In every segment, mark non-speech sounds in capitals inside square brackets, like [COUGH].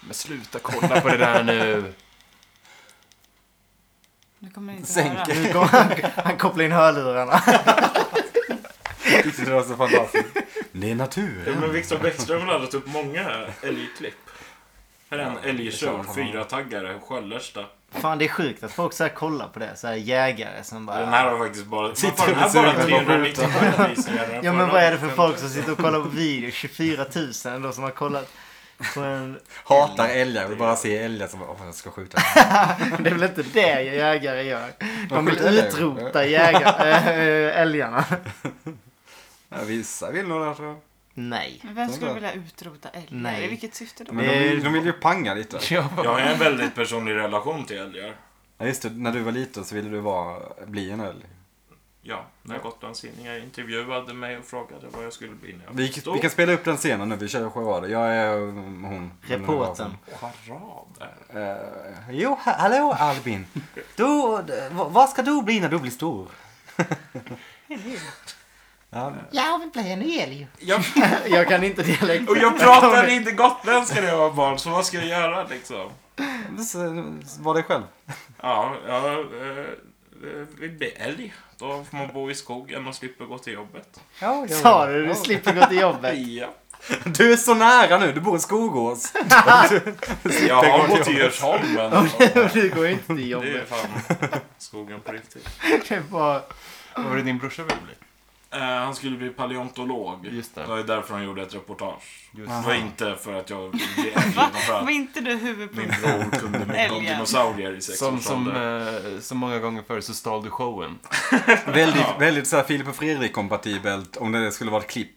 Men sluta kolla på det där nu. Nu kommer ni inte höra. Sänker. Nu kom, han, han kopplar in hörlurarna. Tyckte det var så fantastiskt. Det är Ja, naturen. men Viktor Bäckström har laddat upp många älgklipp. Här är Ja, en det är klart älgtjur, han har. fyra taggare, Sköllersta. Fan det är sjukt att folk så här kollar på det. Så här jägare som bara... Den här har faktiskt bara... Sitter Sitter den här med har bara sugen på 397 visningar. Ja men vad är det för folk som sitter och kollar på video? 24 000 ändå som har kollat på en... Hatar älgar. Vill bara se älgar som bara, åh jag ska skjuta. Det är väl inte det jägare gör? De Man vill skjuter älgar. utrota jägare, äh, älgarna. Ja, vissa vill nog det tror jag. Nej. Men vem skulle Sådär. vilja utrota älgar? Nej. I vilket syfte då? Men de, vill, de vill ju panga lite. [LAUGHS] Jag har en väldigt personlig relation till älgar. Ja, just det, när du var liten så ville du vara, bli en älg. Ja, när Gotlandstidningar intervjuade mig och frågade vad jag skulle bli när jag Vi, blev vi stor. kan spela upp den scenen nu, vi kör charader. Jag är mm, hon. Reportern. Charader. Eh, jo, ha- hallå Albin. Du, d- v- vad ska du bli när du blir stor? ja, Jag vill bli en älg. Jag, [LAUGHS] Jag kan inte dialekten. och [LAUGHS] jag pratade inte gotländska när jag var barn, så vad ska jag göra liksom? så- var dig själv. Ja, jag eh, eh, vill bli älg. Då får man bo i skogen och slipper gå till jobbet. Ja, jag- Sa du? ja. Du slipper gå till jobbet. Ja. Du är så nära nu, du bor i Skogås. Jag har gått till Djursholmen. Och [LAUGHS] Du går inte till Det är jobbet. fan skogen på riktigt. Det är bara... [LAUGHS] Vad var det din brorsa ville bli? Eh, han skulle bli paleontolog. Just det. Det var ju därför han gjorde ett reportage. Just Det Aha. var inte för att jag ville bli älg, Va? [LAUGHS] utan för att Var inte du min huvudpunkt? bror kunde mycket om Älgar. dinosaurier i sex Som, års som, ålder. eh, som många gånger förr så stal du [LAUGHS] showen. väldigt, väldigt så här Filip och Fredrik-kompatibelt om det skulle vara ett klipp.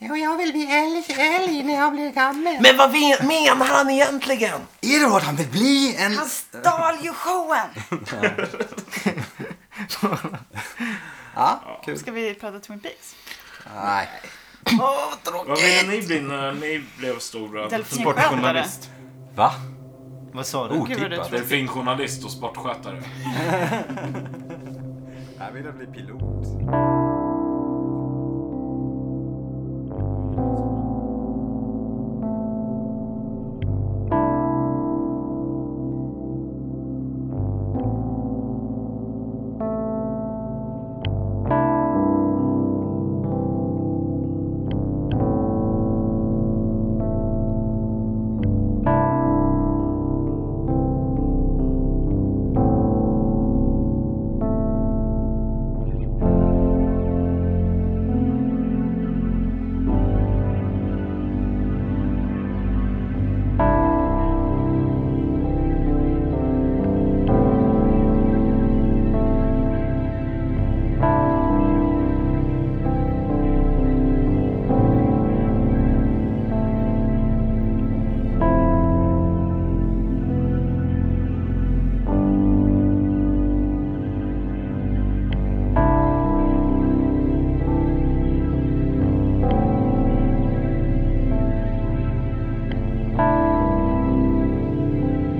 Jo, jag vill bli älg, älg när jag blir gammal. Men vad menar han egentligen? Är det vad han vill bli? En... stal ju showen! Ja, kul. Ska vi prata Twin Peaks? Nej. Vad ville ni bli när ni blev stora? Delfinskövlare. Sportjournalist. Va? Vad sa du? Gud, vad det Otippat. tror- Delfinjournalist och sportskötare. Jag ville bli pilot.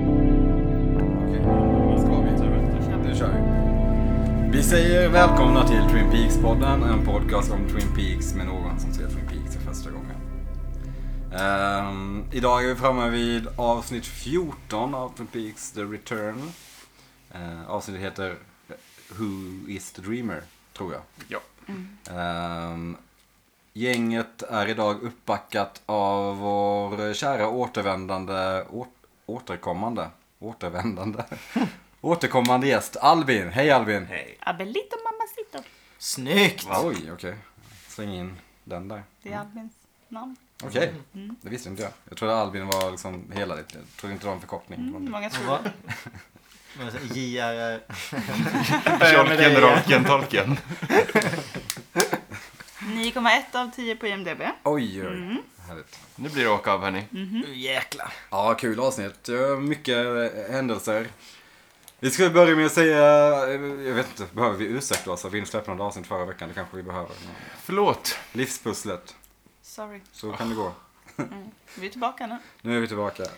Okej, vad ska vi ta efter? Nu kör vi. Vi säger välkomna till Twin Peaks-podden, en podcast om Twin Peaks med någon som ser Twin Peaks för första gången. Ehm, idag är vi framme vid avsnitt 14 av Twin Peaks The Return. Ehm, avsnittet heter Who is the Dreamer, tror jag. Ja. Ehm, gänget är idag uppbackat av vår kära återvändande, å, återkommande, återvändande, återkommande gäst Albin. Hej Albin! Hej. Abelito mamacito. Snyggt! Oj, okej. Släng in den där. Det är Albins namn. Okej, det visste inte jag. Jag trodde Albin var liksom hela ditt, jag trodde inte det var en förkortning. Mm, många tror Va? det. Vad sa- JR... Jolken, Rolken, Tolken. 9,1 av 10 på IMDB. Oj, oj, oj. Härligt. Nu blir det åka av hörni. Nu jäklar. Ja, kul avsnitt. Eh, Mycket eh, händelser. Vi ska börja med att säga, eh, jag vet inte, behöver vi ursäkta oss? att Vi inte släppte något avsnitt förra veckan, det kanske vi behöver. Men Förlåt. Livspusslet, Sorry. så kan det gå. Vi är tillbaka nu. Nu är vi tillbaka. Det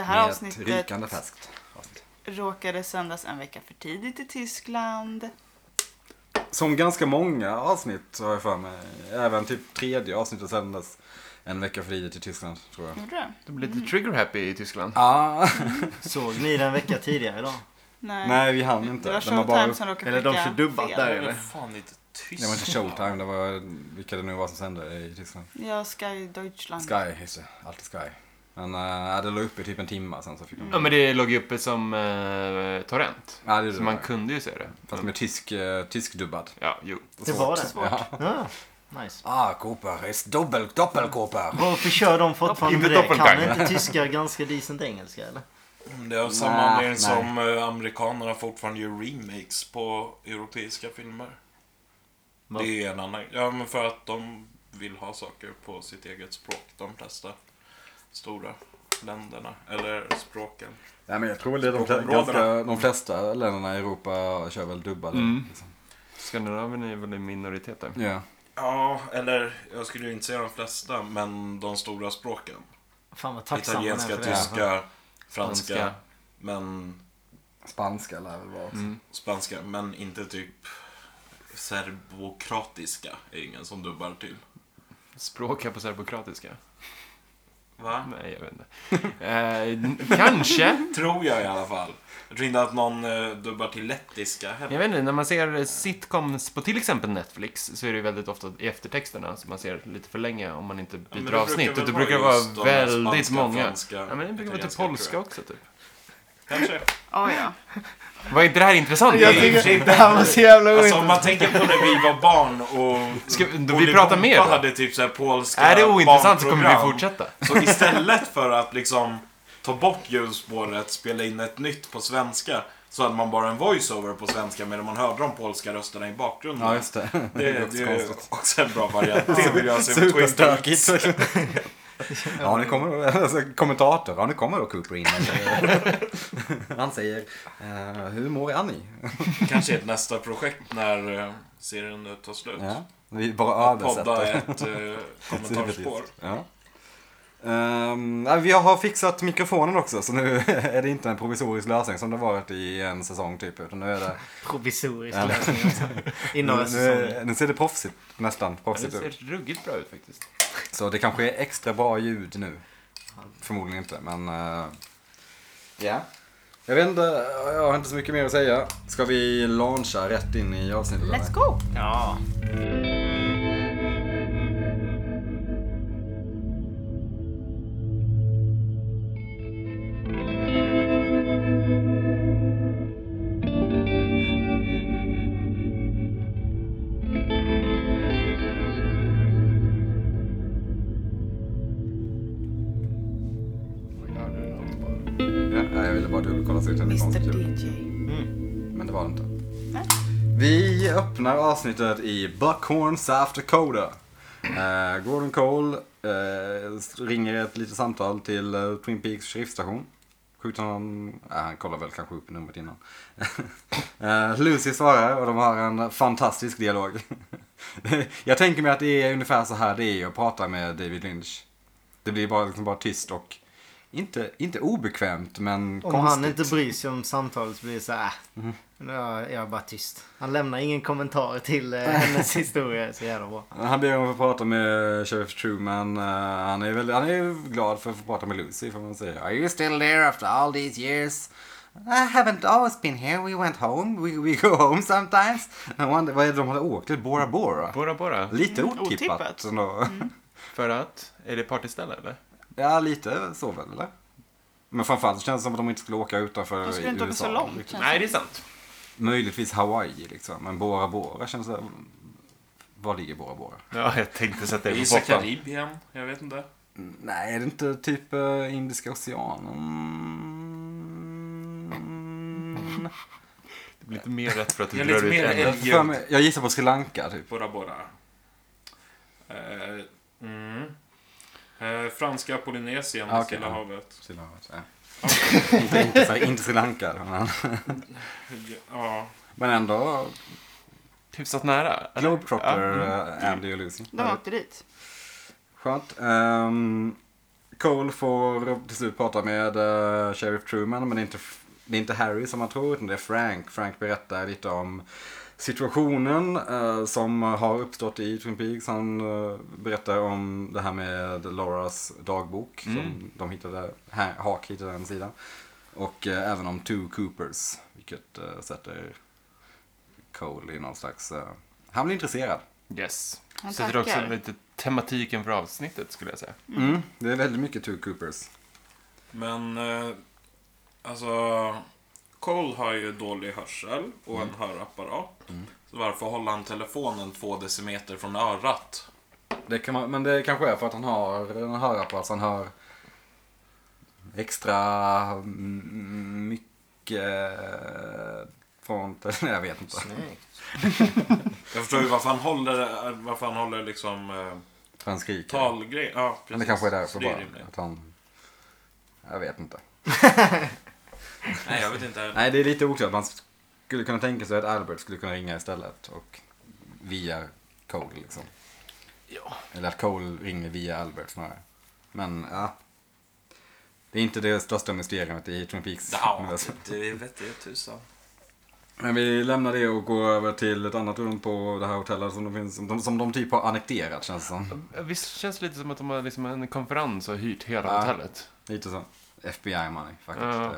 med här ett avsnittet Rykande färskt. avsnitt. råkade sändas en vecka för tidigt i Tyskland. Som ganska många avsnitt har jag för mig. Även typ tredje avsnittet sändes en vecka frihet till Tyskland, tror jag. Gjorde du? Du blev lite trigger happy i Tyskland. Ah, Såg ni den en vecka tidigare idag? Nej. nej, vi hann inte. Det var Den var bara Showtime upp- som råkade Eller de skicka kör dubbat fel. där Det var eller? fan inte tyst. Det var inte Showtime, det var vilka det nu var som sände i Tyskland. Ja, Sky Deutschland. Sky, just det. Alltid Sky. Men uh, det låg uppe i typ en timme, sen så fick de... Ja, men det låg ju uppe som eh, torrent. Ja, det är Så man kunde ju se det. Fast med tysk, uh, tyskdubbad. Ja, jo. Det var det? Ja. Ja, nice. Ah, Cooper, ist doppel, doppelkooper. Varför kör de fortfarande Inte med det? doppelganger. Kan inte tyskar ganska decent engelska eller? Det är av samma Nej, anledning nej. som eh, amerikanerna fortfarande gör remakes på europeiska filmer. Va? Det är en annan... Ja, men för att de vill ha saker på sitt eget språk, de flesta stora länderna. Eller språken. Nej, men jag tror väl det är de, Språkområdena. ganska, de flesta länderna i Europa kör väl dubbade. Mm. Liksom. Skandinavien är väl en minoritet där. Ja. Ja, eller jag skulle ju inte säga de flesta, men de stora språken. Fan vad tacksam man är Italienska, Ja. för det. tyska, franska, Spanska. men Spanska lär väl vara också. Mm. spanska. Men inte typ serbokratiska är ingen som dubbar till. Språk är på serbokratiska. Va? Nej, jag vet inte. Eh, kanske. Tror jag i alla fall. Jag tror inte att någon eh, dubbar till lettiska heller. Jag vet inte, när man ser sitcoms på till exempel Netflix så är det ju väldigt ofta i eftertexterna som man ser lite för länge om man inte Ja, men byter det avsnitt. väl Och det brukar just vara de här väldigt spanska, många. franska, Ja, men det brukar vara typ italienska, tror polska jag. också typ. Kanske. Ja, ja. Var inte det här intressant? Jag tycker det här var så jävla Alltså om man ointressant. tänker på när vi var barn och... Ska vi- då Olle vi pratar mer Bompa då? hade typ såhär polska Är det ointressant så kommer vi barnprogram. fortsätta. Så istället för att liksom ta bort ljudspåret, spela in ett nytt på svenska. Så hade man bara en voiceover på svenska medan man hörde de polska rösterna i bakgrunden. Ja, just det. det, det, låter är ju konstigt. också en bra [LAUGHS] variant. [LAUGHS] Det vill jag se på Twitter. Superstökigt. [LAUGHS] ja, nu kommer då- alltså, kommentator. Ja, nu kommer då Cooper in. alltså. [LAUGHS] Han säger, eh, hur mår Annie? Kanske ett nästa projekt när eh, serien nu tar slut. Ja, vi bara Podda översätter. ett eh, kommentarspår. [LAUGHS] Ja. Ehm, nej, vi har fixat mikrofonen också så nu [LAUGHS] är det inte en provisorisk lösning som det har varit i en säsong typ. Utan nu, är det, Provisorisk Ja. lösning också. I nu, några säsonger. nu, nu ser det proffsigt, nästan Det proffsigt ser ut. ruggigt bra ut faktiskt. Så det kanske är extra bra ljud nu. Förmodligen inte men... eh, ja. Jag vet inte, jag har inte så mycket mer att säga. Ska vi launcha rätt in i avsnittet? eller? Let's go! Ja. Ja, nej, jag ville bara dubbelkolla så det inte var Mr något ljud. DJ. Men det var det inte. Nej. Vi öppnar avsnittet i Buckhorn, South Dakota. Eh, Gordon Cole eh, ringer ett litet samtal till eh, Twin Peaks sheriffstation. Skjuter honom... Eh, han kollar väl kanske upp numret innan. [LAUGHS] eh, Lucy svarar och de har en fantastisk dialog. [LAUGHS] Jag tänker mig att det är ungefär så här det är att prata med David Lynch. Det blir bara, liksom bara tyst och inte, inte obekvämt men Om konstigt. Mm. han inte bryr sig om samtalet så blir det så här. äh, Nu är jag bara tyst. Han lämnar ingen kommentar till [LAUGHS] eh, hennes historia. Så jävla bra. Han ber om att få prata med Sheriff Truman. Eh, han är väl han är ju glad för att få prata med Lucy får man säga. Are you still there after all these years? I haven't always been here. We went home. We, we go home sometimes. I wonder, vad är det de hade åkt till? Bora Bora? Bora Bora. Lite Mm, otippat. otippat. Mm. ändå. För att, är det partyställe eller? [LAUGHS] Ja, lite så väl eller? Men framförallt känns det som att de inte skulle åka utanför De skulle inte åka så långt, riktigt. känns Nej, det är sant. Möjligtvis Hawaii liksom. Men Bora Bora känns det... Var ligger Bora Bora? Ja, jag tänkte sätta Vi det gissar på pottan. Karibien, jag vet inte. Nej, är det inte typ eh, Indiska oceanen? Mm. Det blir lite mer rätt för att du Jag är lite drar ut mer en. eld. Jag, för mig, jag gissar på Sri Lanka typ. Bora Bora. Eh, mm. eh, franska Polynesien, Ah, okej, Stilla ja. havet. Sri Lanka, ja. inte, inte, Sri- inte Sri Lanka. Men, Ja, men ändå Hyfsat nära. eller? Globetrotter, Ja, mm. eh, Andy och Lucy. De åkte dit. Skönt. Ehm, Cole får till slut prata med eh, Sheriff Truman, men det är, inte, det är inte Harry som han tror, utan det är Frank. Frank berättar lite om situationen eh, som har uppstått i Twin Peaks. Han eh, berättar om det här med Lauras dagbok som de hittade, ha- Hak hittade en sida. Och eh, även om Two Coopers, vilket eh, sätter Cole i någon slags... Eh, han blir intresserad. Yes. Han Sätter också tackar. lite tematiken för avsnittet skulle jag säga. Mm. Det är väldigt mycket Two Coopers. Men, eh, alltså... Cole har ju dålig hörsel och en hörapparat. Så varför håller han telefonen två decimeter från örat? Det kan man, men det kanske är för att han har en hörapparat så han hör extra mm, mycket från... [LAUGHS] Nej, jag vet inte. Snyggt. Jag förstår ju varför han håller, eh, varför han håller liksom eh, Han skriker. talgrej. Ja, precis. Men det kanske är därför Så det bara. rimligt. Att han, jag vet inte. Nej, jag vet inte heller. Nej, det är lite oklart. Man skulle kunna tänka sig att Albert skulle kunna ringa istället. Och via Cole liksom. Ja. Eller att Cole ringer via Albert snarare. Men ja. Det är inte det största mysteriet i Twin Peaks. Ja, alltså. det vet jag tusan. Men vi lämnar det och går över till ett annat rum på det här hotellet som de, finns, som de, som de typ har annekterat känns det som. Visst känns det lite som att de har liksom en konferens och hyrt hela Ja. hotellet? Lite så. FBI money faktiskt. Ja. Eh,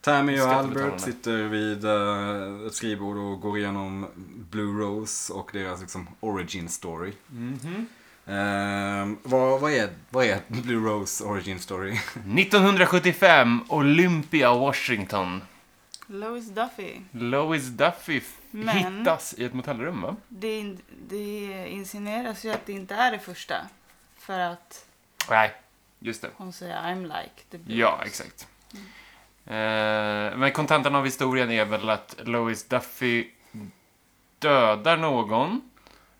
Tammy och Skattebetalarna. Albert sitter vid eh, ett skrivbord och går igenom Blue Rose och deras liksom, origin story. Mhm. Eh, vad, vad, är, vad är [LAUGHS] Blue Rose origin story? 1975, Olympia, Washington. Louis Duffy. Lois Duffy f- Men- hittas i ett motellrum, va? Det, in, det insinueras ju att det inte är det första. För att Nej, just det. hon säger I'm like. Det blir- Ja, exakt. Eh, men kontentan av historien är väl att Lois Duffy dödar någon.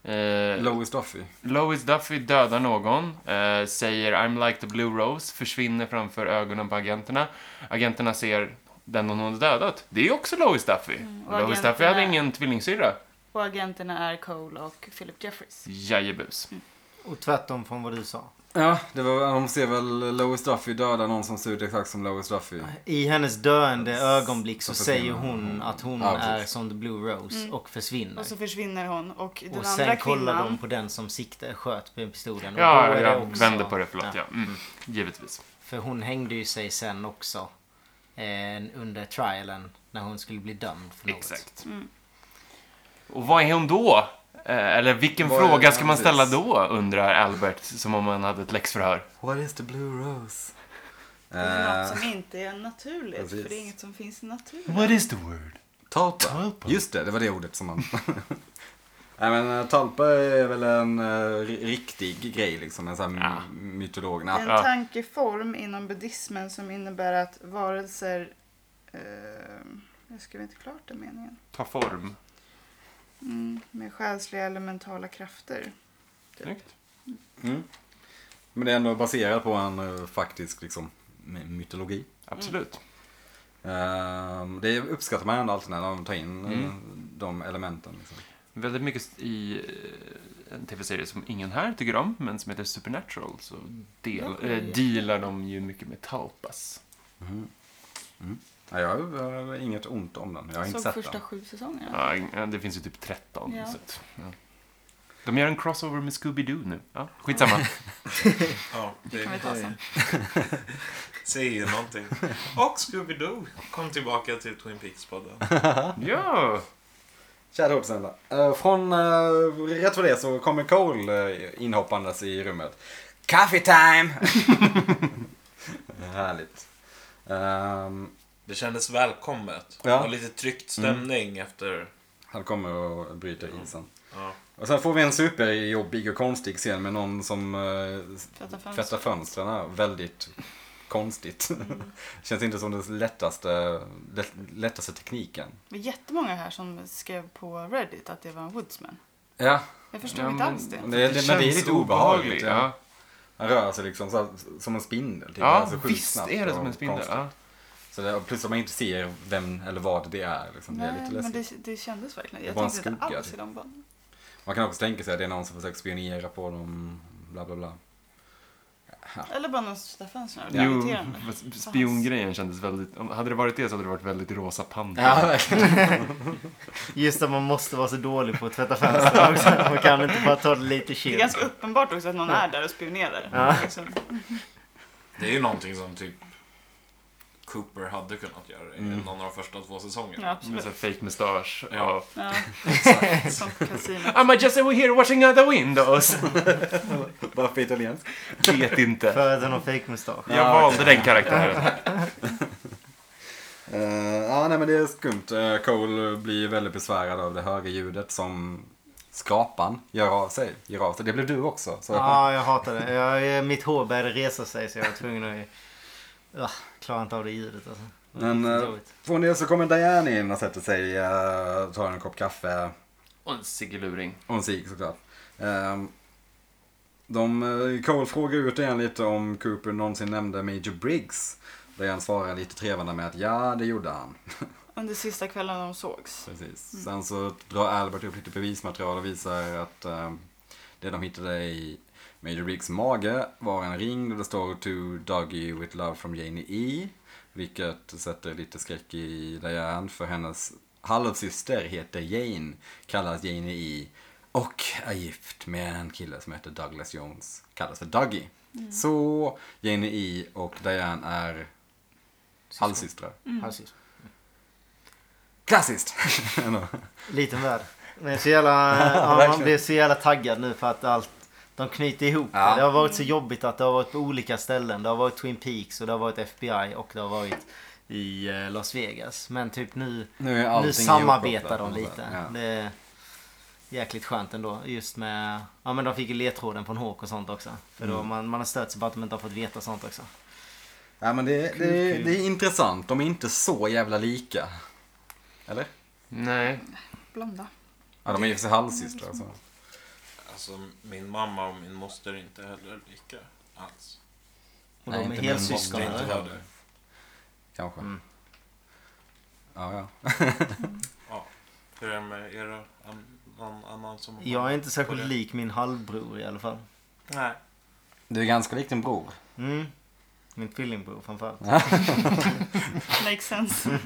Eh, Lois Duffy. Lois Duffy dödar någon, eh, säger I'm like the blue rose, försvinner framför ögonen på agenterna. Agenterna ser den hon hade dödat. Det är också Lois Duffy. Mm, och Lois agenterna- Duffy hade ingen tvillingsyrra. Och agenterna är Cole och Philip Jeffries. Jajebus. Mm. Och tvärtom från vad du sa. Ja, det var, de ser väl Lois Duffy döda någon som ser ut exakt som Lois Duffy. I hennes döende ögonblick så Så säger försvinner hon att hon Ja, är precis. som The Blue Rose Mm. och försvinner. Och så försvinner hon och den Och andra sen kollar kvinnan. de på den som siktar, sköt med pistolen. Och då Ja, är jag också- vänder på det, förlåt. Ja. Mm, givetvis. För hon hängde ju sig sen också. Eh, under trialen. När hon skulle bli dömd för något. Exakt. Mm. Och vad är hon då? Eh, eller vilken Vad är- fråga ska man precis. ställa då, undrar Albert, som om han hade ett läxförhör. What is the blue rose? Det är något Eh, som inte är naturligt. precis. För det är inget som finns i naturen. What is the word? talpa. Talpa. Just det, det var det ordet som man... [LAUGHS] Nej men eh, talpa är väl en eh, ri- riktig grej liksom. En sån här Ja. ja. mytolog. Det är en Ja. Ja. tankeform inom buddhismen som innebär att varelser... Eh, jag skrev inte klart den meningen. Ta form. Mm, med själsliga eller mentala krafter. Snyggt. Mm. Men det är ändå baserat på en eh, faktisk liksom, my- mytologi. Absolut. Ehm, det uppskattar man ändå alltid när de tar in eh, de elementen. Liksom. Väldigt mycket i eh, en tv-serie som ingen här tycker om, men som heter Supernatural, så del, Mm. Ja. eh, dealar de ju mycket med talpas. Ja, Mm. jag har inget ont om den. Jag har inte Såg sett första den. sju säsongerna. Ja, eh, det finns ju typ 13. Ja. Så att, ja. De gör en crossover med Scooby-Doo nu. Ja, [LAUGHS] skitsamma. Ja, Det kan vi det ta sen. [LAUGHS] säger ju någonting. Och Scooby-Doo kom tillbaka till Twin Peaks-podden. ja! Kära hoppsända. Eh, Från, eh, rätt för det så kommer Cole eh, inhoppandes i rummet. Coffee time! [LAUGHS] Härligt. Ehm, Det kändes välkommet. Ja. Det var lite tryckt stämning efter... han kommer och bryter isen. Ja. Och sen får vi en superjobbig och konstig scen med någon som eh, s- Tvätta fönster. tvättar fönstren. här. Väldigt konstigt. [LAUGHS] Känns inte som den lättaste, lätt, lättaste tekniken. Det var jättemånga här som skrev på Reddit att det var en woodsman. Ja, Jag förstod Ja, inte men- alls det. det, det, men det är känns lite obehagligt, obehagligt. Ja. Ja, Han rör sig liksom så här, som en spindel. Typ. ja Alltså sjukt visst snabbt är det och som en spindel. konstigt. Ja. Så det, och plus att man inte ser vem eller vad det är. Liksom. Det är Nej, lite men läskigt. det, det kändes verkligen. Jag Bara en tänkte inte skugga, alls typ. i de banorna. Man kan också tänka sig att det är någon som försöker spionera på dem. Bla bla bla. Ja, Eller bara någon Staffan snarare. Det är Jo, irriterande. [LAUGHS] fast spiongrejen kändes väldigt... om- Hade det varit det så hade det varit väldigt rosa panter. Ja, [LAUGHS] verkligen. Just att man måste vara så dålig på att [LAUGHS] tvätta fönster också. Man kan inte bara ta det lite Det är chill. ganska uppenbart också att någon är där och spionerar. Liksom. Det är ju någonting som typ Cooper hade kunnat göra i någon av de första två säsongerna. Ja, Med absolut. sån fake mustasch. Ja. Ja, som kasino. I'm just over here watching out the windows. [LAUGHS] Varför italiensk? Vet inte. För att han har fejkmustasch. Jag valde den karaktären. Eh, ja, nej men det är skumt. Eh, Cole blir väldigt besvärad av det höga ljudet som skrapan gör av sig. Gör av sig. Det blev du också. Så. Ja, jag hatar det. Jag, mitt hår började resa sig så jag var tvungen att... Jag klarar inte av det ljudet alltså. Men Det är eh, dåligt. från det så kommer Diane in och sätter sig, eh, tar en kopp kaffe Och en siggeluring. och en cigg såklart. Ehm, de, eh, Cole frågar ut igen lite om Cooper någonsin nämnde Major Briggs. Diane svarar lite trevande med att ja, det gjorde han. Under sista kvällen de sågs. Precis. Sen så drar Albert upp lite bevismaterial och visar att eh, det de hittade i Major Briggs mage var en ring där det står To Doggy with love from Janie E. Vilket sätter lite skräck i Diane för hennes halvsyster heter Jane, kallas Janie E. Och är gift med en kille som heter Douglas Jones, kallas för Dougie. Så Janie E och Diane är halvsystrar. Mm. Halvsyster. Klassiskt! [LAUGHS] Liten värld. Men så jävla, ja, man verkligen. blir så jävla taggad nu för att allt, de knyter ihop det. Ja. Det har varit så jobbigt att det har varit på olika ställen. Det har varit Twin Peaks och det har varit FBI och det har varit i eh, Las Vegas. Men typ nu, Nu, är nu allting samarbetar ihopkopplat på de något lite. sätt. Ja. Det är jäkligt skönt ändå. Just med, ja men de fick ju ledtråden från Hawk och sånt också. För Mm. då man, man har stört sig på att de inte har fått veta sånt också. Ja men det, det, det är intressant, de är inte så jävla lika. Eller? Nej. Blonda. Ja de är ju för sig halvsystrar så. Alltså, min mamma och min moster är inte heller lika alls. Och Nej, de är inte min helsyskon. Måste inte eller? vara det. Kanske. Mm. Ja ja. Ja. Hur är det med era? An- Någon annan som... har- Jag är inte särskilt på det? lik min halvbror i alla fall. Nej. Du är ganska lik din bror. Mm. Min tvillingbror framförallt. Makes sense.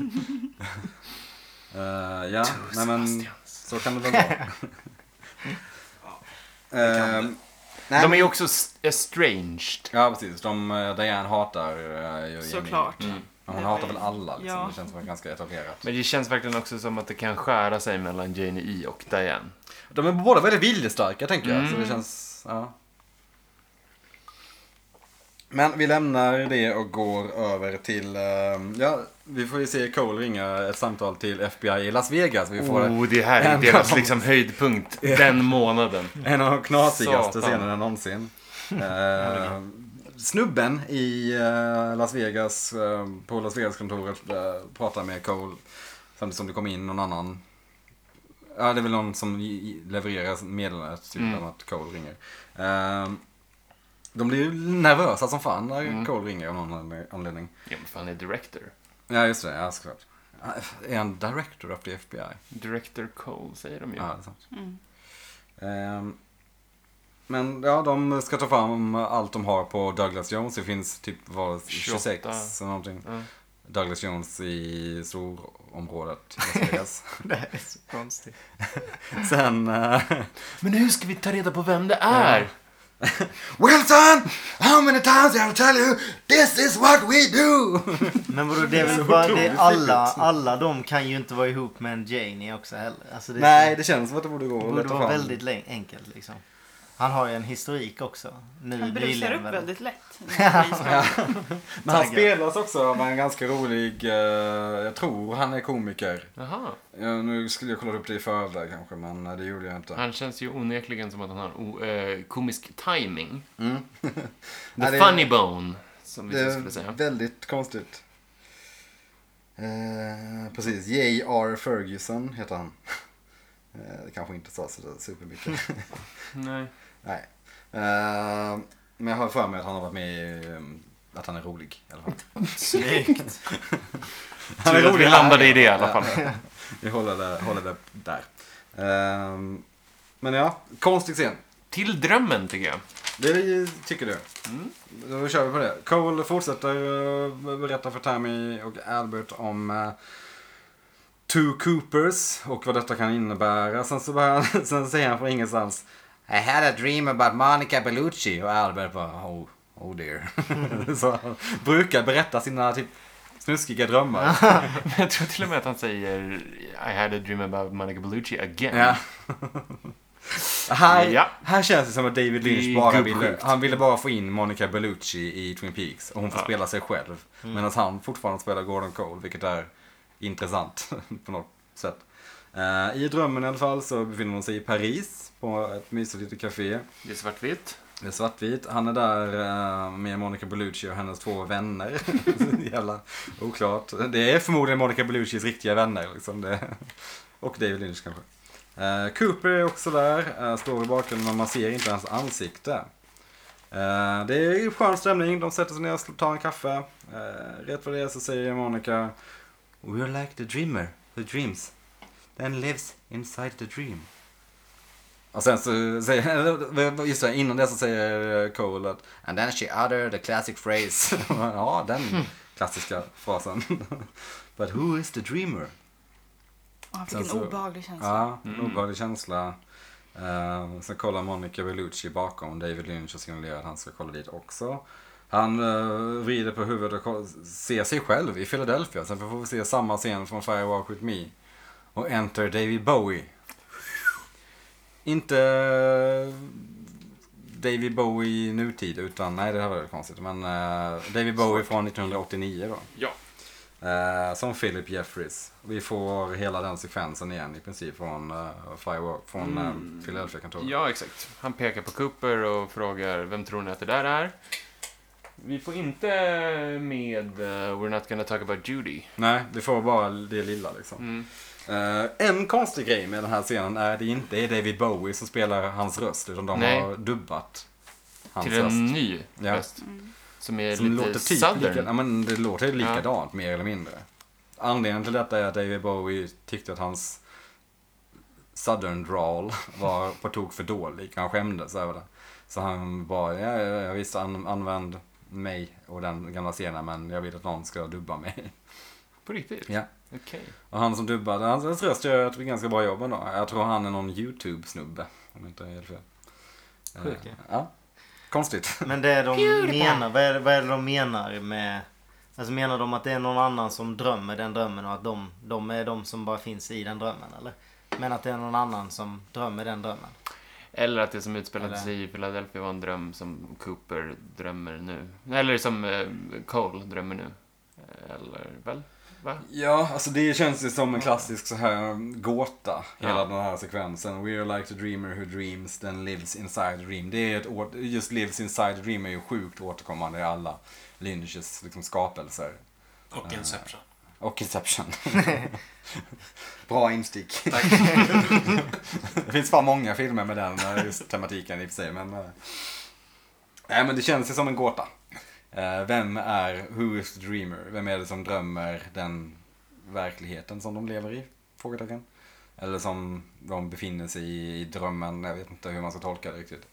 Eh, ja, nej men så kan det väl vara. [LAUGHS] Ehm, nej, De är men- ju också s- estranged. Ja precis, de, eh, Diane hatar uh, ju Såklart. Jamie. Men Hon Det var hatar ju- väl alla liksom, ja. det känns som ganska etablerat. Men det känns verkligen också som att det kan skära sig mellan Janie E och Diane. De är båda väldigt viljestarka tänker jag. Så det Mm. känns, ja. Men vi lämnar det och går över till, eh, ja, vi får ju se Cole ringa ett samtal till FBI i Las Vegas. Vi får Oh, det här är en deras av- liksom höjdpunkt den månaden. en av de knasigaste Satan. scenerna någonsin. Eh, snubben i eh, Las Vegas, eh, på Las Vegas-kontoret, eh, pratar med Cole samtidigt som det kommer in någon annan. Ja, det är väl någon som i- i- levererar meddelandet, typ Mm. om att Cole ringer. Eh, de blir ju nervösa som fan när Mm. Cole ringer av någon anle- anledning. Ja, men fan är director? Ja, just det. Ja, såklart. Eh, Är han director of the FBI? Director Cole säger de ju. Ja, det är sant. Mm. Ehm, Men ja, de ska ta fram allt de har på Douglas Jones. Det finns typ var 26 28. eller någonting. Ja. Douglas Jones i storområdet i [LAUGHS] Las Vegas. Det är så konstigt. Sen... eh, Men hur ska vi ta reda på vem det är? [LAUGHS] Wilson! How many times I have tell you this is what we do! Men vadå, det är väl bara, det är alla, liksom. alla de kan ju inte vara ihop med en Janie också heller. Alltså det är Nej, så, det känns som att det borde gå det att borde leta vara fram. väldigt le- enkelt liksom. Han har ju en historik också. Nu Han brusar nyligen upp väl. väldigt [LAUGHS] lätt. Men han taggad. spelas också av en ganska rolig, eh, jag tror han är komiker. Jaha. Ja, nu skulle jag kolla upp det i förväg kanske, men eh, det gjorde jag inte. Han känns ju onekligen som att han har o, eh, komisk timing. Mm. [LAUGHS] The Nej, det- funny bone, som vi Det så är skulle säga. väldigt konstigt. Eh, precis, J.R. Ferguson heter han. Eh, det kanske inte sa så där [LAUGHS] supermycket. Nej. Nej. Eh, men jag har för mig att han har varit med i, eh, att han är rolig i alla fall. Snyggt. [LAUGHS] Han är Tur att vi rolig landade här. i det i alla fall. [LAUGHS] Vi håller det, håller det där. Eh, men ja, konstig scen. Till drömmen, tycker jag. Det vi tycker du. Då kör vi på det. Cole fortsätter eh, berätta för Tammy och Albert om eh, Two Coopers och vad detta kan innebära. Sen, så börjar han, [LAUGHS] sen säger han från ingenstans I had a dream about Monica Bellucci och Albert bara oh, oh dear. [LAUGHS] så han brukar berätta sina typ snuskiga drömmar. [LAUGHS] Jag tror till och med att han säger I had a dream about Monica Bellucci again. Ja. [LAUGHS] Här, Ja. här känns det som att David Det Lynch är bara gubbsjukt. ville, han ville bara få in Monica Bellucci i Twin Peaks och hon får Ja. Mm. spela sig själv. Medan han fortfarande spelar Gordon Cole, vilket är intressant [LAUGHS] på något sätt. Eh, I drömmen i alla fall så befinner hon sig i Paris på ett mysigt litet café. Det är svartvitt. Det är svartvit. Han är där eh, med Monica Bellucci och hennes två vänner. [LAUGHS] Jävla oklart. Det är förmodligen Monica Bellucis riktiga vänner. Liksom. Det. Och David Lynch kanske. Eh, Cooper är också där. eh, står i bakgrunden men man ser inte hans ansikte. Eh, det är skön stämning. De sätter sig ner och tar en kaffe. Uh, rätt vad det är så säger Monica We're like the dreamer who dreams. Then lives inside the dream. Och sen så säger, [LAUGHS] just det, innan det så säger Cole att And then she uttered the classic phrase. [LAUGHS] ja, den klassiska frasen. [LAUGHS] But who is the dreamer? Och han fick Sen en så- obehaglig känsla. Ja, en obehaglig känsla. Eh, sen kollar Monica Bellucci bakom David Lynch och signalerar att han ska kolla dit också. Han eh, vrider på huvudet och koll- ser sig själv i Philadelphia. Sen får vi se samma scen från Firewalk With Me. Och Enter David Bowie. Inte eh, David Bowie i nutid, utan nej det här var väldigt konstigt. Men eh, David Bowie från 1989 då. Ja. Eh, som Philip Jeffries. Vi får hela den sekvensen igen i princip från eh, Firework, från mm. Philadelphia-kontoret. Ja, exakt. Han pekar på Cooper och frågar vem tror ni att det där är? Vi får inte med eh, We're not gonna talk about Judy. Nej, vi får bara det lilla liksom. Eh, en konstig grej med den här scenen är att det inte är David Bowie som spelar hans röst, utan de Nej. har dubbat hans Till en röst. ny Ja. röst. Mm. Som är Som eh, lite låter typ southern. lika, ja, men det låter ju Ja. likadant mer eller mindre. Anledningen till detta är att David Bowie tyckte att hans southern drawl [LAUGHS] var på tok för dålig. Han skämdes över det. Så han bara, ja, ja, ja visst an, använd mig och den gamla scenen men jag vill att någon ska dubba mig. [LAUGHS] På riktigt? Ja. Okej. Och han som dubbade, hans, hans röst gör ett ganska bra jobb ändå. Jag tror han är någon YouTube-snubbe. Om jag inte är helt fel. Sjukt, Eh, ja. Konstigt. [LAUGHS] Men det de menar, vad är, det- vad är det de menar med... Alltså menar de att det är någon annan som drömmer den drömmen och att de, de är de som bara finns i den drömmen eller? Men att det är någon annan som drömmer den drömmen? Eller att det som utspelade Eller- sig i Philadelphia var en dröm som Cooper drömmer nu. Eller som eh, Cole drömmer nu. Eller väl? Va? Ja, alltså det känns ju som en klassisk så här gåta, hela Ja. den här sekvensen. We are like the dreamer who dreams, then lives inside the dream. Det är ett år, just lives inside the dream är ju sjukt återkommande i alla Lynches liksom, skapelser. Och Inception. Och Inception. [LAUGHS] Bra instick. det finns fan många filmer med den eh, just tematiken i och för sig. Men, eh, nej, men det känns ju som en gåta. Eh, Vem är, who is the dreamer? Vem är det som drömmer den verkligheten som de lever i? Frågetecken. Eller som de befinner sig i, i drömmen. Jag vet inte hur man ska tolka det riktigt.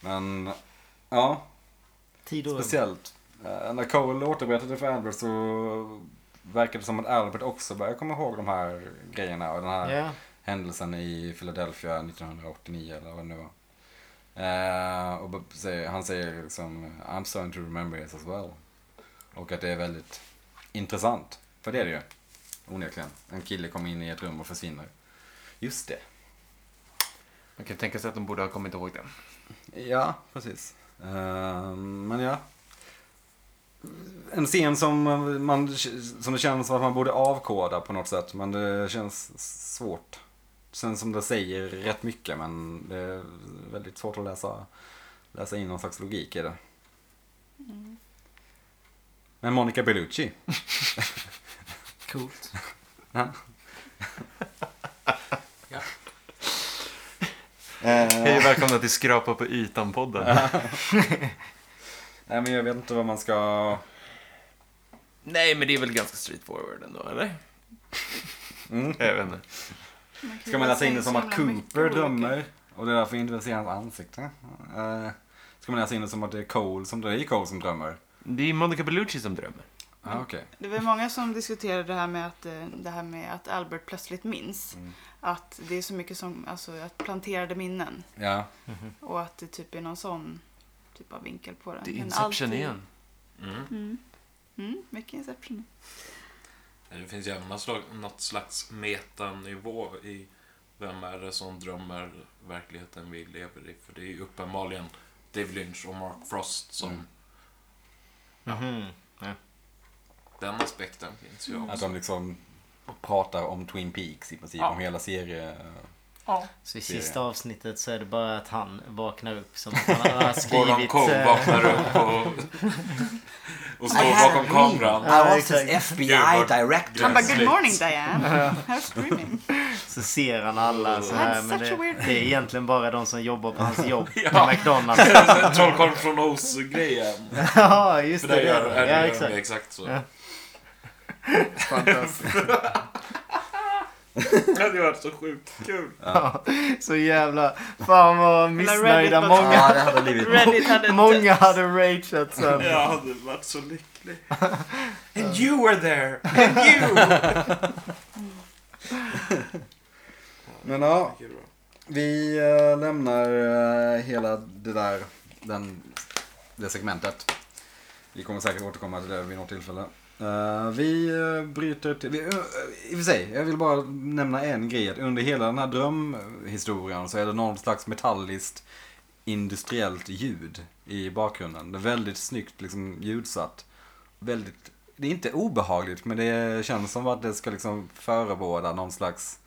Men, ja. Tid och rum. Speciellt. Eh, när Cole återberättade för Albert så verkade det som att Albert också började komma ihåg de här grejerna och den här Ja. händelsen i Philadelphia 1989 eller vad det nu var. Eh, och b- säger, han säger liksom I'm starting to remember this as well. Och att det är väldigt intressant. För det är det ju. Onekligen. En kille kommer in i ett rum och försvinner. Just det. Man kan tänka sig att de borde ha kommit ihåg den. Ja, precis. Ehm, men ja. En scen som, man, som det känns som att man borde avkoda på något sätt, men det känns svårt. Sen som det säger rätt mycket, men det är väldigt svårt att läsa, läsa in någon slags logik i det. Men Monica Bellucci. Coolt. Hej och välkomna till Skrapa på ytan-podden. Nej, men jag vet inte vad man ska... Nej, men det är väl ganska straightforward ändå, eller? Mm. Jag vet inte. Man kan Ska ju man läsa in det så som att himla mycket Cooper olika. drömmer och det är därför vi inte vill se hans ansikte? Eh, Ska man läsa in det som att det är Cole som, det är Cole som drömmer? Det är Monica Bellucci som drömmer. Ah, okej. Det var ju många som diskuterade det här med att, eh, det här med att Albert plötsligt minns. Mm. Att det är så mycket som, alltså att planterade minnen. Ja. Och att det typ är någon sån typ av vinkel på det. Det är Men Inception alltid- igen. Mm, mycket Inception. Det finns ju även någon slags- något slags metanivå i vem är det som drömmer verkligheten vi lever i? För det är ju uppenbarligen Dave Lynch och Mark Frost som... Mm. Mhm. Den aspekten finns Mm. ju Att också. de liksom pratar om Twin Peaks i princip, Ja. om hela serien. Så i Ser jag. sista avsnittet så är det bara att han vaknar upp som att han har Gordon skrivit... Cole eh, vaknar [LAUGHS] upp och, och står bakom kameran. [LAUGHS] Ja, I was exakt. an FBI Gud, vad director. Han bara, good Slut. morning Diane. [LAUGHS] How's dreaming? Så ser han alla så här. I'm Men such a det, weird det är egentligen bara de som jobbar på hans jobb på Ja. McDonalds. [LAUGHS] Trollkarlen från Oz-grejen. ja, just För det. där det gör är det. Ja, är det ju exakt. exakt så. [LAUGHS] Ja. Det hade ju varit så sjukt kul. Så jävla... Fan vad missnöjda Reddit- många... Ja, det [LAUGHS] hade blivit Reddit hade [LAUGHS] Många hade rageat sen. Jag hade varit så lycklig. And you were there! And you! Men ja, vi eh, lämnar eh, hela det där den, det segmentet. Vi kommer säkert återkomma till det vid något tillfälle. Eh, vi eh, bryter till... Vi, eh, I och för sig, jag vill bara nämna en grej. Att under hela den här drömhistorien så är det någon slags metalliskt industriellt ljud i bakgrunden. Det är väldigt snyggt liksom, ljudsatt. Väldigt, det är inte obehagligt men det känns som att det ska liksom förebåda någon slags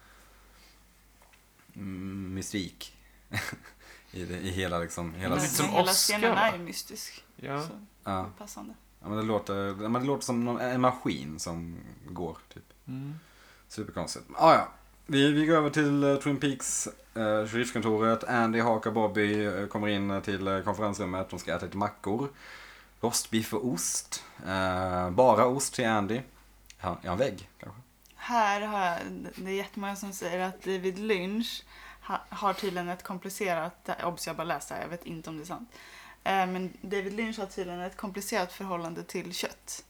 mm, mystik. [LAUGHS] I, det, I hela liksom, hela... Men Lite som hela Oscar, scenen va? är ju mystisk. Ja. Så Ja. passande. Ja, men det, låter, ja, men det låter som någon, en maskin som går, typ. mm. Superkonstigt. Ah, ja. vi, vi går över till eh, Twin Peaks, eh, sheriffkontoret. Andy, Haka, Bobby eh, kommer in eh, till eh, konferensrummet. De ska äta lite mackor. Rostbiff och ost. Eh, bara ost till Andy. Ja, är han vägg, kanske? Här har jag, det är jättemånga som säger att David Lynch ha, har tydligen ett komplicerat, obs jag bara läste här, jag vet inte om det är sant. Eh, Men David Lynch har tydligen ett komplicerat förhållande till kött.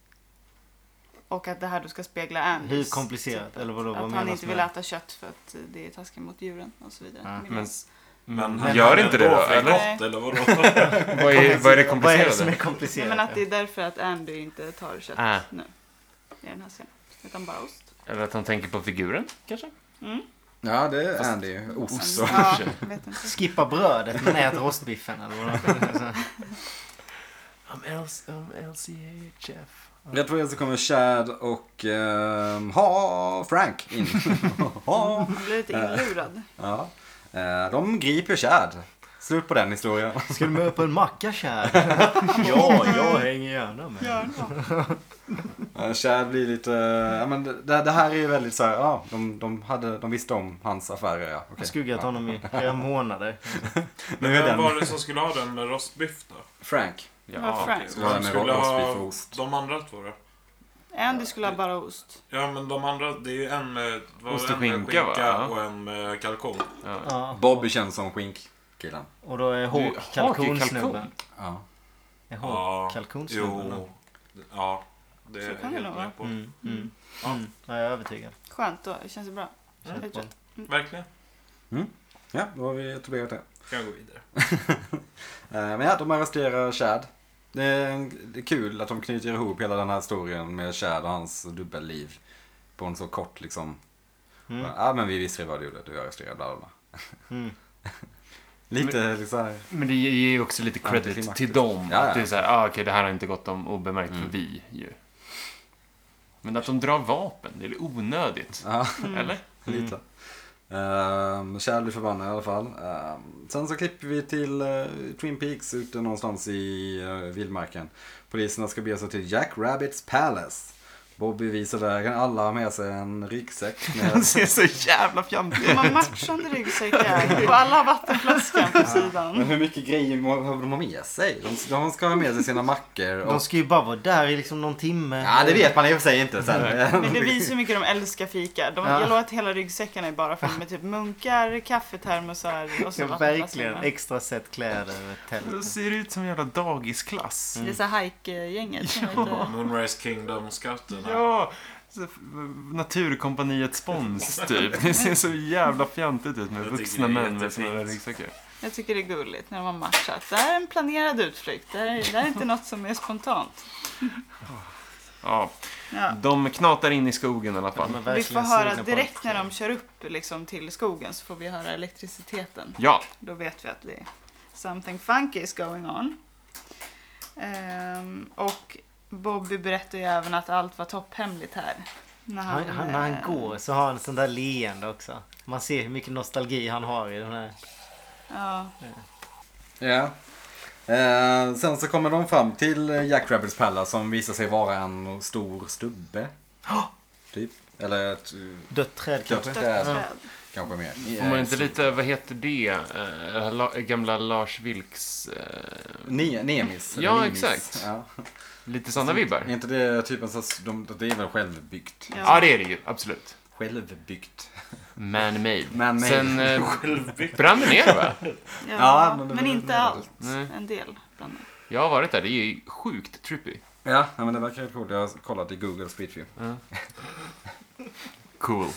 Och att det här då ska spegla Anders. Hur komplicerat? Eller vadå? Vad Att han menas inte med Ah, vill det? äta kött för att det är taskigt mot djuren och så vidare. Ja. Men, men, han gör är inte det då, ändå för eller? gott, eller vadå? Vad är, vad är det Vad är det som komplicerade? är Nej, komplicerat? men att det är därför att Andy inte tar kött Ah. nu. I den här scenen. Utan bara ost. Eller att han tänker på figuren, kanske? Ja, det är Andy. Mm. Ost. [LAUGHS] Så. Ja, vet inte. Skippa brödet men ät rostbiffen eller vadå? I'm, LCHF. Rätt vad det är så kommer Chad och ehm, ha Frank [LAUGHS] in. ha. Man blir lite Ah. inlurad. Ja. Eh, de griper Chad. Slut på den historien. Ska du med på en macka kär? ja, jag hänger gärna med. Gör det. Ja, Chad Eh, blir lite, eh, ja men det, det här är ju väldigt så här, ja de, de, hade, de visste om hans affärer ja. Jag har Okej. skuggat honom i flera månader. [LAUGHS] Nu är Vem den, var det som skulle ha den med rostbiff då? Frank. Ja, Ja, Frank. Så var det Vem med skulle rostbiff och ha ost. de andra två då? Andy skulle ha bara ost. Ja men de andra, det är ju en med var Ost och en med skinka, va? Ja. och en med kalkon. ja. Ja. Bobby känns som skinkkillen. Och då är Du, Hawk Hawk är kalkonsnubben. kalkon. Ja. Är Ja. Hawk kalkonsnubben? då? Jo. Ja. Det är Så jag kan det nog helt vara. med på. Mm, mm. Ja. Mm. Ja, jag är övertygad. Skönt då, det känns bra. Känns bra. Verkligen. Ja, då har vi etablerat det. Kan jag gå vidare. Eh, men ja, de arresterar Chad. Det är, en- det är kul att de knyter ihop hela den här historien med Chad och hans dubbelliv. På en så kort liksom, Mm. ja men vi visste ju vad du gjorde, du arresterade bla bla bla. Mm. [LAUGHS] Lite liksom här. Men det ger ju också lite credit Antiklimaktiskt. till dem. Ja, ja. Att det är så här, ah, okej, det här har inte gått dem obemärkt för vi ju. Men att de drar vapen, det är onödigt. Ja. Eller? Mm. Lite. Ehm, Kjell blir förbannad i alla fall. Ehm, sen så klipper vi till eh, Twin Peaks ute eh, någonstans i uh, vildmarken. Poliserna ska bege sig till Jack Rabbits Palace. Bobby visar vägen. Alla har med sig en ryggsäck. Med... [LAUGHS] [LAUGHS] Den ser så jävla fjantig De ut. har matchande ryggsäckar och alla har vattenflaskan på Men sidan. hur mycket grejer må- behöver de ha med sig? De, de ska ha med sig sina mackor. Och... De ska ju bara vara där i liksom någon timme. Ja, det vet man i och för sig inte. Sen. Men det visar hur mycket de älskar fika. De, Ja. Jag lovar att hela ryggsäcken är bara full med typ munkar, kaffetermosar och så Ja, vattenflaskorna. verkligen. Extra set kläder och De tält. ser ut som jävla dagisklass. Mm. Det är så här hike-gänget. som heter- Moonrise Kingdom-scouterna. Ja, så f- Naturkompaniets [LAUGHS] spons typ. Det ser så jävla fjantigt ut med Jag tycker vuxna det är män med jättefint. sina ryggsäckar. Jag tycker det är gulligt när de har matchat. Det här är en planerad utflykt. Det här är, det här är inte något som är spontant. Ja, Ja. de knatar in i skogen i alla fall. De är Vi får verkligen höra sugna på direkt att- när de kör upp liksom, till skogen så får vi höra elektriciteten. Ja, Då vet vi att det är something funky is going on. Ehm, och Bobby berättar ju även att allt var topphemligt här. När Han, han, när eh, han går så har han sån där leende också. Man ser hur mycket nostalgi han har i den här. Ja, [LAUGHS] Ja. Eh, sen så kommer de fram till eh, Jack Rabbits Palace som visar sig vara en stor [GASPS] stubbe. typ. Eller ett eh, Dött träd dött kanske. träd dödsträd. kanske mer. Får man Eh, inte lite, vad heter det, eh, la, gamla Lars Vilks, eh, Ne- Nemis. eller Ja, Nimis. exakt. Ja. lite sådana Är vibbar? inte det typen så att de, det är väl självbyggt? Ja. Ja, det är det ju, absolut. Självbyggt. Man-made. Man-made. [LAUGHS] Sen eh, brann det ner va? Ja, Ja, men- men, men- inte allt. Nej. En del. Bland annat. Jag har varit där, det är ju sjukt trippy. Ja, ja, men det verkar ju coolt. Jag har kollat i Google Street View. Cool.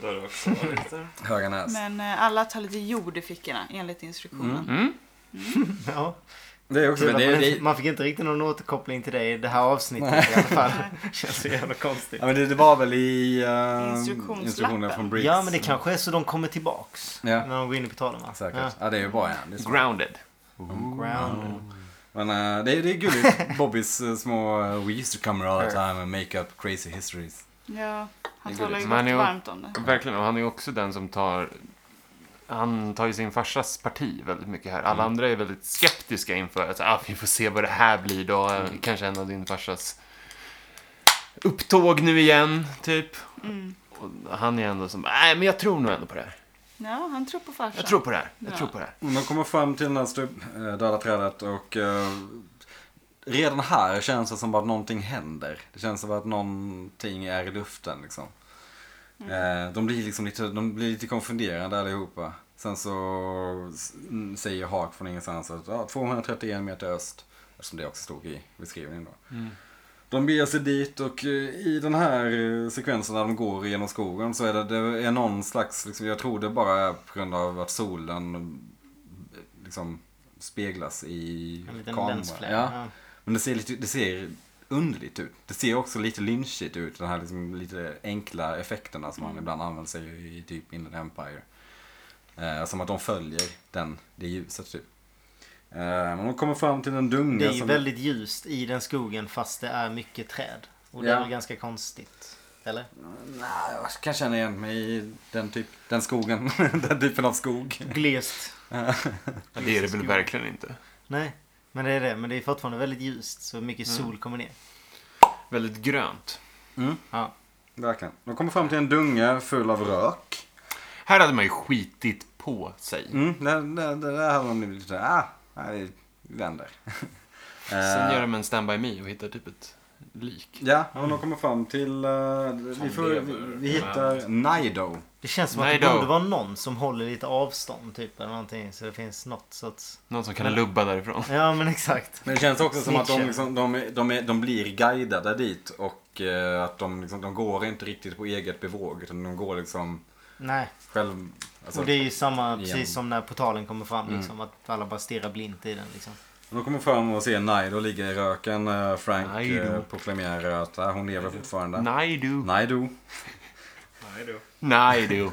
Där har jag också varit. Höganäs. Men eh, alla tar lite jord i fickorna enligt instruktionen. Mm? Ja. Det är också... Kul Men att det, man, det, inte, man fick inte riktigt någon återkoppling till dig i det här avsnittet i [LAUGHS] alla fall. Känns så jävla konstigt. ja, men det, det var väl i eh, Instruktionslappen. instruktionen från Briggs. Ja men det kanske är så de kommer tillbaks. Ja. När de går in i portalen va? Säkert. Mm. Ja. Ja. det är ju bra ja. Det är smart. Grounded. Ground. Men eh, det, är, det [LAUGHS] är gulligt. Bobbys eh, små eh, We used to come around all the time and make up crazy histories. Ja, han Det är talar gulligt. ju Men gott jag- varmt om det. Verkligen, och han är ju också den som tar han tar ju sin farsas parti väldigt mycket här. Alla andra är väldigt skeptiska inför att ah, vi får se vad det här blir då. Kanske en av din farsas upptåg nu igen, typ. Mm. Och han är ändå som, nej men jag tror nog ändå på det här. Ja, han tror på farsan. Jag tror på det här. Jag Ja. tror på det här. De kommer fram till den här stubb, eh, döda trädet och eh, redan här känns det som att någonting händer. Det känns som att någonting är i luften liksom. Mm. Eh, de blir liksom lite, de blir lite konfunderade allihopa. Sen så s- mm, säger Hak från ingenstans att ja, 231 meter öst. Eftersom det också stod i beskrivningen då. Mm. De beger sig dit och eh, i den här eh, sekvensen när de går genom skogen så är det, det är någon slags, liksom, jag tror det bara är på grund av att solen eh, liksom speglas i En liten kameran. lensflare. Ja. Ja. Men det ser, lite, det ser underligt ut. Det ser också lite lynchigt ut, de här liksom lite enkla effekterna som Mm. man ibland använder sig i typ Inland Empire. Eh, som att de följer den, det ljuset typ. Eh, men de kommer fram till en dunge Det är ju som... väldigt ljust i den skogen fast det är mycket träd. Och det Ja. är väl ganska konstigt. Eller? Nej, jag kan känna igen mig i den, typ, den skogen. [LAUGHS] den typen av skog. Glest. det är det väl verkligen inte. Nej. Men det är det. Men det är fortfarande väldigt ljust så mycket Mm. sol kommer ner. Väldigt grönt. Ja. Verkligen. De kommer fram till en dunge full av rök. Här hade man ju skitit på sig. Mm, där, där, där, där hade de blivit lite, ah, nej, vi vänder. [LAUGHS] Sen Eh, gör de en standby me och hittar typ ett lik. Ja, och de kommer fram till... eh, vi, får, vi, vi hittar Nido. Det känns som Nej att det då. borde vara någon som håller lite avstånd typ eller någonting. Så det finns något sorts... Någon som kan lubba därifrån. Ja men exakt. Men det känns också som att de, Snitchen. liksom, de, är- de, är, de blir guidade dit och eh, att de, liksom, de går inte riktigt på eget bevåg utan de går liksom Nej. själv... Alltså, Och det är ju samma igen. Mm. precis som när portalen kommer fram liksom. Att alla bara stirrar blint i den liksom. De kommer fram och ser Nido ligga i röken. Eh, Frank Nido. eh, proklamerar att eh, hon lever fortfarande. Nej du. Nido. Nej du.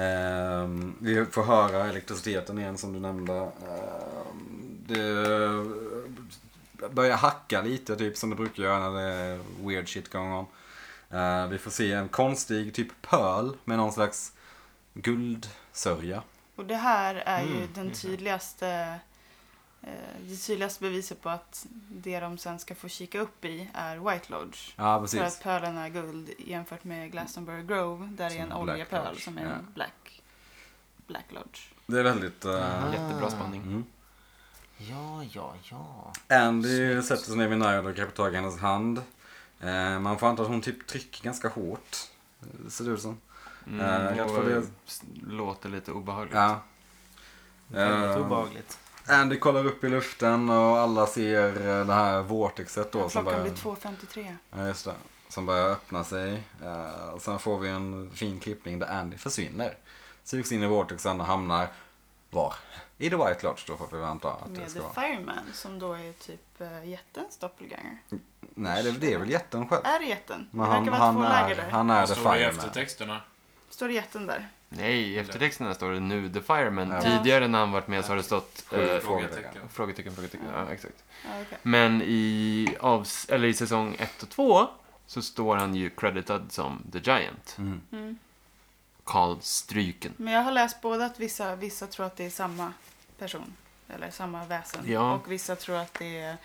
Ehm, vi får höra elektriciteten igen som du nämnde. Ehm, det börjar hacka lite, typ som det brukar göra när det är weird shit going on. Ehm, vi får se en konstig typ pöl med någon slags guldsörja. Mm, Och det här är ju den tydligaste eh, det tydligaste beviset på att det de sen ska få kika upp i är White Lodge. Ja, För att precis. pölen är guld jämfört med Glastonbury Grove där det är Som en Black oljepöl Lodge, som är en ja. black, black Lodge. Det är väldigt... eh, Ah. Jättebra spaning. mm. Ja, ja, ja. Andy sätter sig ner vid Nile och greppar tag i hennes hand. Eh, man får anta att hon typ trycker ganska hårt. eh, Ser det ut som. Eh, Mm, jag och tror det- s- låter lite obehagligt. Ja. Väldigt Ehm, Eh, obehagligt. Andy kollar upp i luften och alla ser eh, det här vortexet då som Klockan börjar, blir 2.53. ja, just det, som börjar öppna sig. Eh, och sen får vi en fin klippning där Andy försvinner. Sugs in i vortexen och hamnar var? I The White Lodge då får vi anta att det Med ska The vara. Fireman som då är typ eh, jättens doppelganger. Nej, det, det är väl jätten själv. Är det jätten? Det Men han, verkar vara två han, läger är, där. han är The Vad står Alltså, det i Fireman. eftertexterna? Står det jätten där? Nej, i eftertexterna står det nu The Fireman. Ja. Tidigare när han varit med så har det stått eh, Frågetecken. frågetecken, frågetecken. Ja, exakt. Ja, okej. Men i, avs- eller i säsong 1 och 2 så står han ju creditad som The Giant. Mm. Mm. Carl Stryken. Men jag har läst både att vissa, vissa tror att det är samma person. Eller samma väsen. Ja. Och vissa tror att det är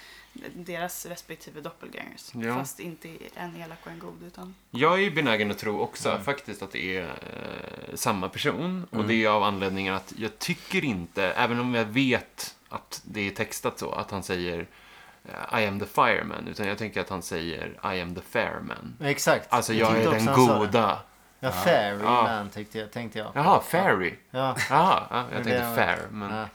deras respektive doppelgangers. Ja. Fast inte en elak och en god. Utan... Jag är ju benägen att tro också Mm. faktiskt att det är eh, samma person. Och det är av anledningen att jag tycker inte, även om jag vet att det är textat så, att han säger eh, I am the fireman. Utan jag tänker att han säger I am the fairman. Exakt. Alltså jag tyckte är också den han sa det. goda. Ja, fairy Ja. man tyckte jag, tänkte jag. Jaha, fairy. Ja. Jaha, ja, jag Men tänkte det- fair. Men... ja.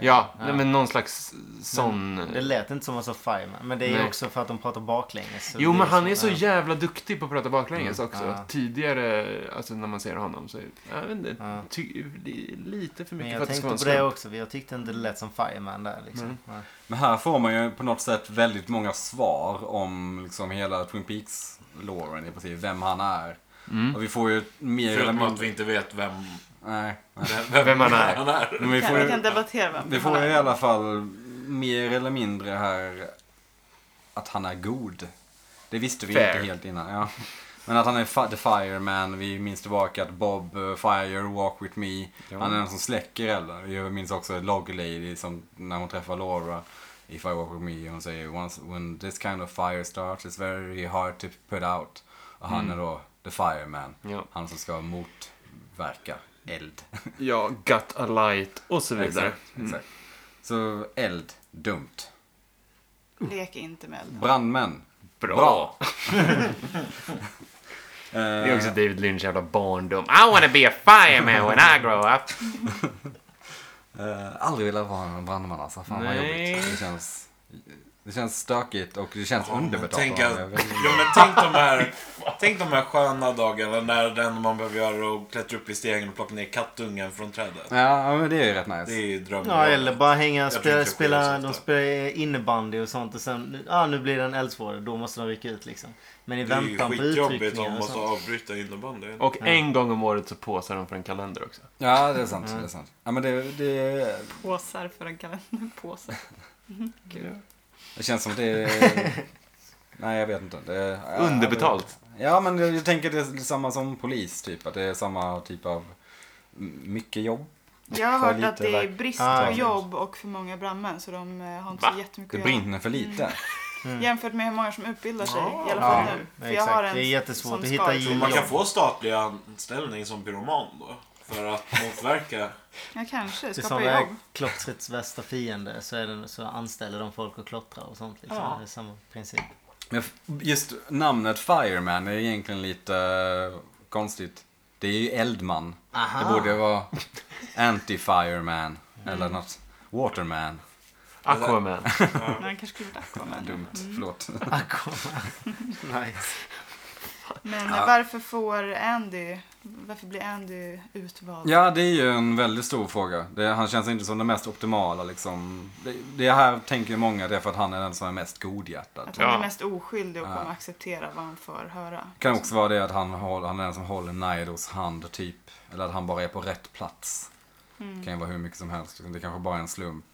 Ja, nej, men någon slags sån... Det lät inte som att man sa fireman. Men det är ju Nej. också för att de pratar baklänges. så Jo, det men han är så ja. jävla duktig på att prata baklänges också. Mm. Ja. Tidigare, alltså när man ser honom så är jag vet inte, Ja. ty, det är lite för Men mycket för jag att det ska tänkte vara Mm. en på det slump. också. för Jag tyckte inte det lät som fireman där liksom. Ja. Men här får man ju på något sätt väldigt många svar om liksom hela Twin Peaks-loren i princip, vem han är. Mm. Och vi får ju mer eller Mm. Förutom att mindre... vi inte vet vem, Nej, nej. vem, Vem han är. han är. Men vi Kan, får, vi ju, kan debattera vem vi han får ju är. i alla fall mer eller mindre här att han är god. Det visste vi Fair. inte helt innan. Ja. Men att han är fi- the fireman, vi minns tillbaka att Bob, eh, fire, walk with me. Han är den som släcker elden. Jag minns också Log Lady som när hon träffar Laura i Fire Walk With Me. Hon säger Once, When this kind of fire starts it's very hard to put out. Och han är då the fireman. Ja. Han som ska motverka eld. Ja, got a light och så vidare. Mm. Exakt. exakt. Så eld, dumt. Lek inte med elden. Brandmän, Bra. [LAUGHS] bra. Eh. Det är också David Lynch jävla barndom. I wanna be a fireman when I grow up. Eh, aldrig velat vara en brandman alltså. Fan vad Nej. jobbigt. Det känns, det känns stökigt och det känns Ja, men underbetalt. Tänk, av att, mig. Jag vet inte. ja, men tänk, de [LAUGHS] här, tänk de här sköna dagarna när det enda man behöver göra är att klättra upp i stegen och plocka ner kattungen från trädet. Ja, ja, men det är ju rätt nice. Det är ju drömmen. Ja, eller bara hänga och Jag tror spela, inte det sker spela, så de ofta. spelar innebandy och sånt och sen, ja ah, nu blir det en eldsvård då måste de rycka ut liksom. Men i Det är ju väntan på skitjobbigt om utryckningar man och måste sånt. avbryta innebandyn. Och en gång om året så påsar de för en kalender också. Ja, det är sant. Mm. Det är sant. Ja, men det, det, Påsar för en kalender. [LAUGHS] Påsar. det känns som att det är... [LAUGHS] Nej, jag vet inte. Det, är- Underbetalt. Ja, men jag jag tänker det är samma som polis, typ. Att det är samma typ av m- mycket jobb. Jag har För hört lite att det är verk- brist Ah, på okej. jobb och för många brandmän så de eh, har inte Va? så jättemycket Det att göra. brinner för lite. Jämfört med hur många som utbildar sig. I alla fall Ja, nu. För jag har exakt. en Det är jättesvårt som att hitta ska- i- Men Man kan få statlig anställning som pyroman då. För att motverka. Ja, kanske. Till Skapa sådana här jobb. klottrets värsta fiende så, är det, så anställer de folk och klottrar och sånt liksom. Det är samma princip. Men f- just namnet Fireman är egentligen lite eh, konstigt. Det är ju Eldman. Aha. Det borde vara Anti-Fireman eller något. Waterman. Aquaman. Men han kanske skulle varit Aquaman. Dumt, förlåt. [LAUGHS] Nice. Men varför får Andy, varför blir Andy utvald? Ja, det är ju en väldigt stor fråga. Det, han känns inte som den mest optimala liksom. Det, det här tänker ju många, det är för att han är den som är mest godhjärtad. Att han Ja. är mest oskyldig och kommer acceptera vad han får höra. Det kan också vara det att han, håller, han är den som håller Nidos hand typ. Eller att han bara är på rätt plats. Det kan ju vara hur mycket som helst. liksom. Det kanske bara är en slump.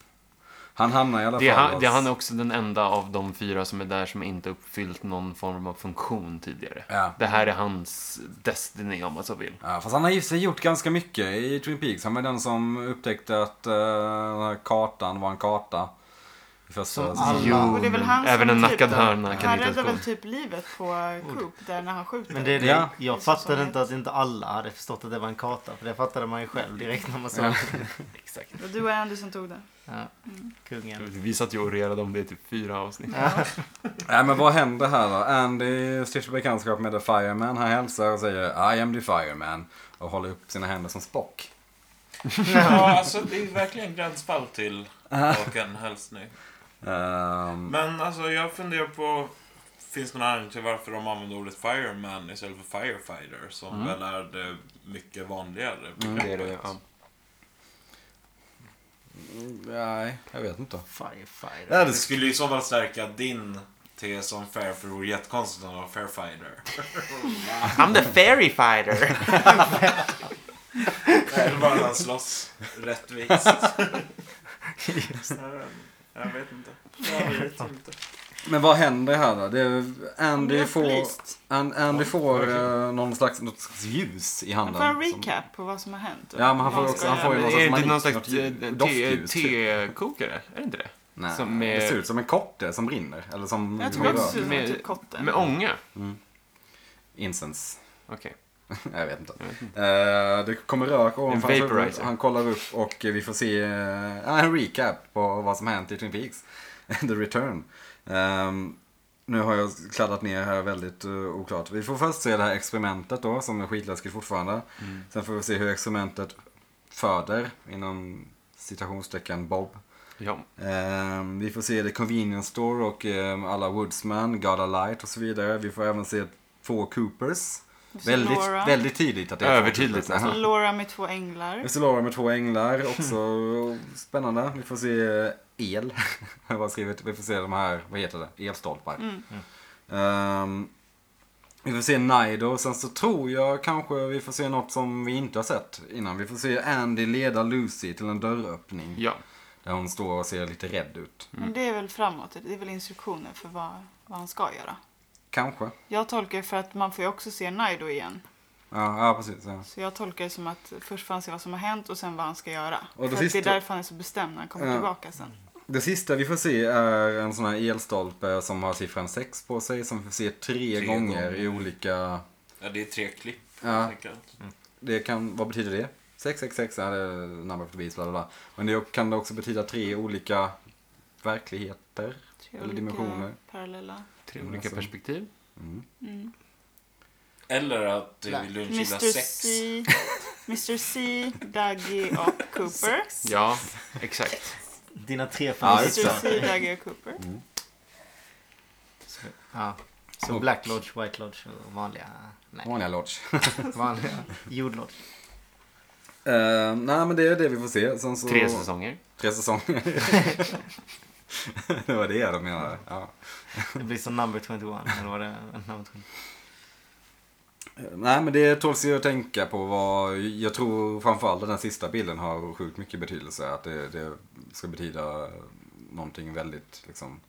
Han hamnar i alla Det är, fall han, hos- det är han också den enda av de fyra som är där som inte uppfyllt någon form av funktion tidigare. Ja. Det här är hans Destiny om man så vill. Ja, fast han har ju sig gjort ganska mycket i Twin Peaks. Han var den som upptäckte att eh, den här kartan var en karta. I första Som säsongen. alla- Och det är väl han Alltså, Även som en typ- nackad hörna kan Han inte räddar utgå. väl typ livet på Coop där när han skjuter. Men det är det. Ja. Jag fattade inte att inte alla hade förstått att det var en karta. För det fattade man ju själv direkt när man [LAUGHS] såg den. Exakt. Och du och Andy som tog den. Ja. Kungen. Mm. Vi satt ju och orerade om det i typ fyra avsnitt. Nej men vad händer här då? Andy stiftar bekantskap med The Fireman. Han hälsar och säger I am the Fireman. Och håller upp sina händer som Spock. [LAUGHS] Ja, [LAUGHS] alltså det är verkligen gränsfall till och en hälsning. Ehm, Men alltså jag funderar på, finns det någon anledning till varför de använder ordet fireman istället för firefighter? Som väl är det mycket vanligare begreppet. Mm. Det är det, ja. nej, jag vet inte. Firefighter. Ja, Det det skulle i så fall stärka din tes som fair, för det vore jättekonstigt att vara fairfighter. [LAUGHS] I'm the fairy fighter! Eller bara han slåss rättvist. Jag vet inte. Jag vet inte. Men vad händer här då? Det är, Han blir Andy får, upplyst. An- Andy får eh, någon slags, något slags ljus i Han handen. får en som- recap på vad som har hänt. Ja, men han får Vad också- ska han får ju göra. någon är det någon sorts manik- slags något eh, te- doftljus, tekokare? Är det inte det? Nej, Som är- det ser ut som en kotte som brinner. Eller som Jag tror också det var Med- typ kotten. Med ånga? Incense. Okej. [LAUGHS] Jag vet inte. Eh, det kommer rök ovanför En hans huvud. vaporizer. Han kollar upp och vi får se eh, ja, en recap på vad som hänt i Twin Peaks. [LAUGHS] The Return. Ehm, nu har jag kladdat ner här väldigt eh, oklart. Vi får först se det här experimentet då som är skitläskigt fortfarande. Sen får vi se hur experimentet föder inom citationstecken Bob. Ja. Ehm, vi får se The Convenience Store och ehm, alla Woodsman, God a Light och så vidare. Vi får även se två Coopers. Och så Väldigt, Laura. väldigt tidigt att det är två Övertydligt Coopers. nästan. Ja. Laura med två änglar. Vi ser Laura med [LAUGHS] två änglar, också spännande. Vi får se eh, el. [LAUGHS] Jag har bara skrivit, vi får se de här, vad heter det, elstolpar. Mm. Ehm, vi får se Nido, sen så tror jag kanske vi får se något som vi inte har sett innan. Vi får se Andy leda Lucy till en dörröppning. ja. Där hon står och ser lite rädd ut. Men det är väl framåt. Det är väl instruktioner för vad, vad han ska göra. Kanske. Jag tolkar för att man får ju också se Nido igen. Ja, ja precis. Ja. Så jag tolkar det som att först får han se vad som har hänt och sen vad han ska göra. Och det för att det sista- är därför han är så bestämd när han kommer Ja. tillbaka sen. Det sista vi får se är en sån här elstolpe som har siffran 6 på sig. Som vi får se tre, Tre gånger, gånger. i olika... Ja, det är tre klipp. Ja. helt enkelt. Det kan, vad betyder det? 666 är det number of the beast, bla bla bla. Men det kan det också betyda tre olika verkligheter. Tre Eller olika dimensioner. Parallella. Tre olika [LAUGHS] perspektiv. Mm. Mm. Eller att det Nej. vill du inte gilla Mr sex. C, Mr C, Dougie och Cooper. Ja, exakt. Dina tre Ja, Mr just det. C, Dougie och Cooper. Så- Ja. Så Black Lodge, White Lodge och vanliga... Nej, Vanliga lodge. [LAUGHS] vanliga jordlodge. Eh, nej men det är det vi får se. Sen så... Tre säsonger. Tre säsonger. [LAUGHS] det var det de menade. Ja. Det blir som number 21. Eller vad det är. Number 20. Nej men det tåls ju att tänka på vad, jag tror framförallt den här sista bilden har sjukt mycket betydelse. Att det, det ska betyda någonting väldigt liksom,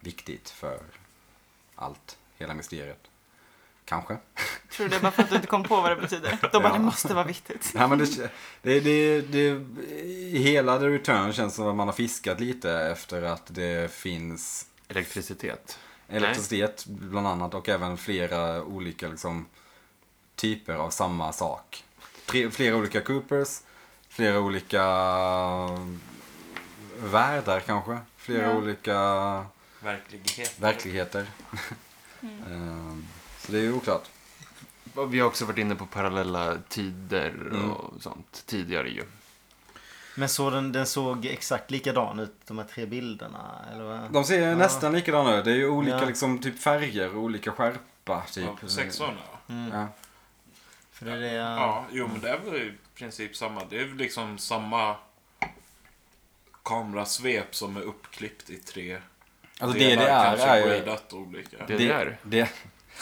viktigt för allt, hela mysteriet. Kanske. [LAUGHS] Tror du det är bara för att du inte kom på vad det betyder? De bara, Ja. det måste vara viktigt. Nej men det, det, det, det, hela The Return känns som att man har fiskat lite efter att det finns Elektricitet. Elektricitet bland annat och även flera olika liksom, typer av samma sak. Tre, flera olika Coopers, flera olika världar kanske, flera Ja. olika Verklighet. verkligheter. Ehm, Så det är ju oklart. Vi har också varit inne på parallella tider Mm. och sånt tidigare ju. Men så den, den såg exakt likadan ut, de här tre bilderna? Eller vad? De ser Ja. nästan likadana ut. Det är ju olika Ja. liksom, typ färger och olika skärpa. Typ. Ja, på sexorna ja. Mm. Ja. För det är det jag... Ja, jo men det är väl i princip samma. Det är väl liksom samma kamerasvep som är uppklippt i tre Alltså delar, DDR kanske är ju... gradat olika. Det- DDR. Det,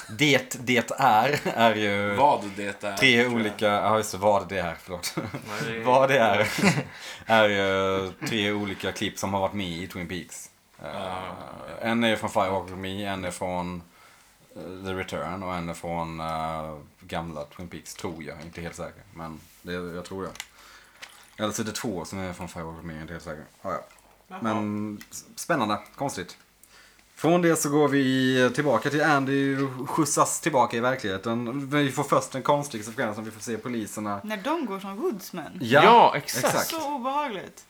Det, det är, är ju Vad det är. tror tre jag. olika, ja just det, vad det är, förlåt. Nej, det är- Vad det [LAUGHS] är, är ju eh, tre olika klipp som har varit med i Twin Peaks. Eh, En är från Firewalk With Me, en är från eh, The Return och en är från eh, gamla Twin Peaks, tror jag. Inte helt säker, men det, jag tror jag. Eller så är det två som är från Firewalk With Me, inte helt säker. Ah, ja. Men s- spännande, konstigt. Från det så går vi tillbaka till Andy skjutsas tillbaka i verkligheten. Vi får först en konstig sekvens som vi får se poliserna. När de går som woodsmen. Ja, exakt. Så obehagligt.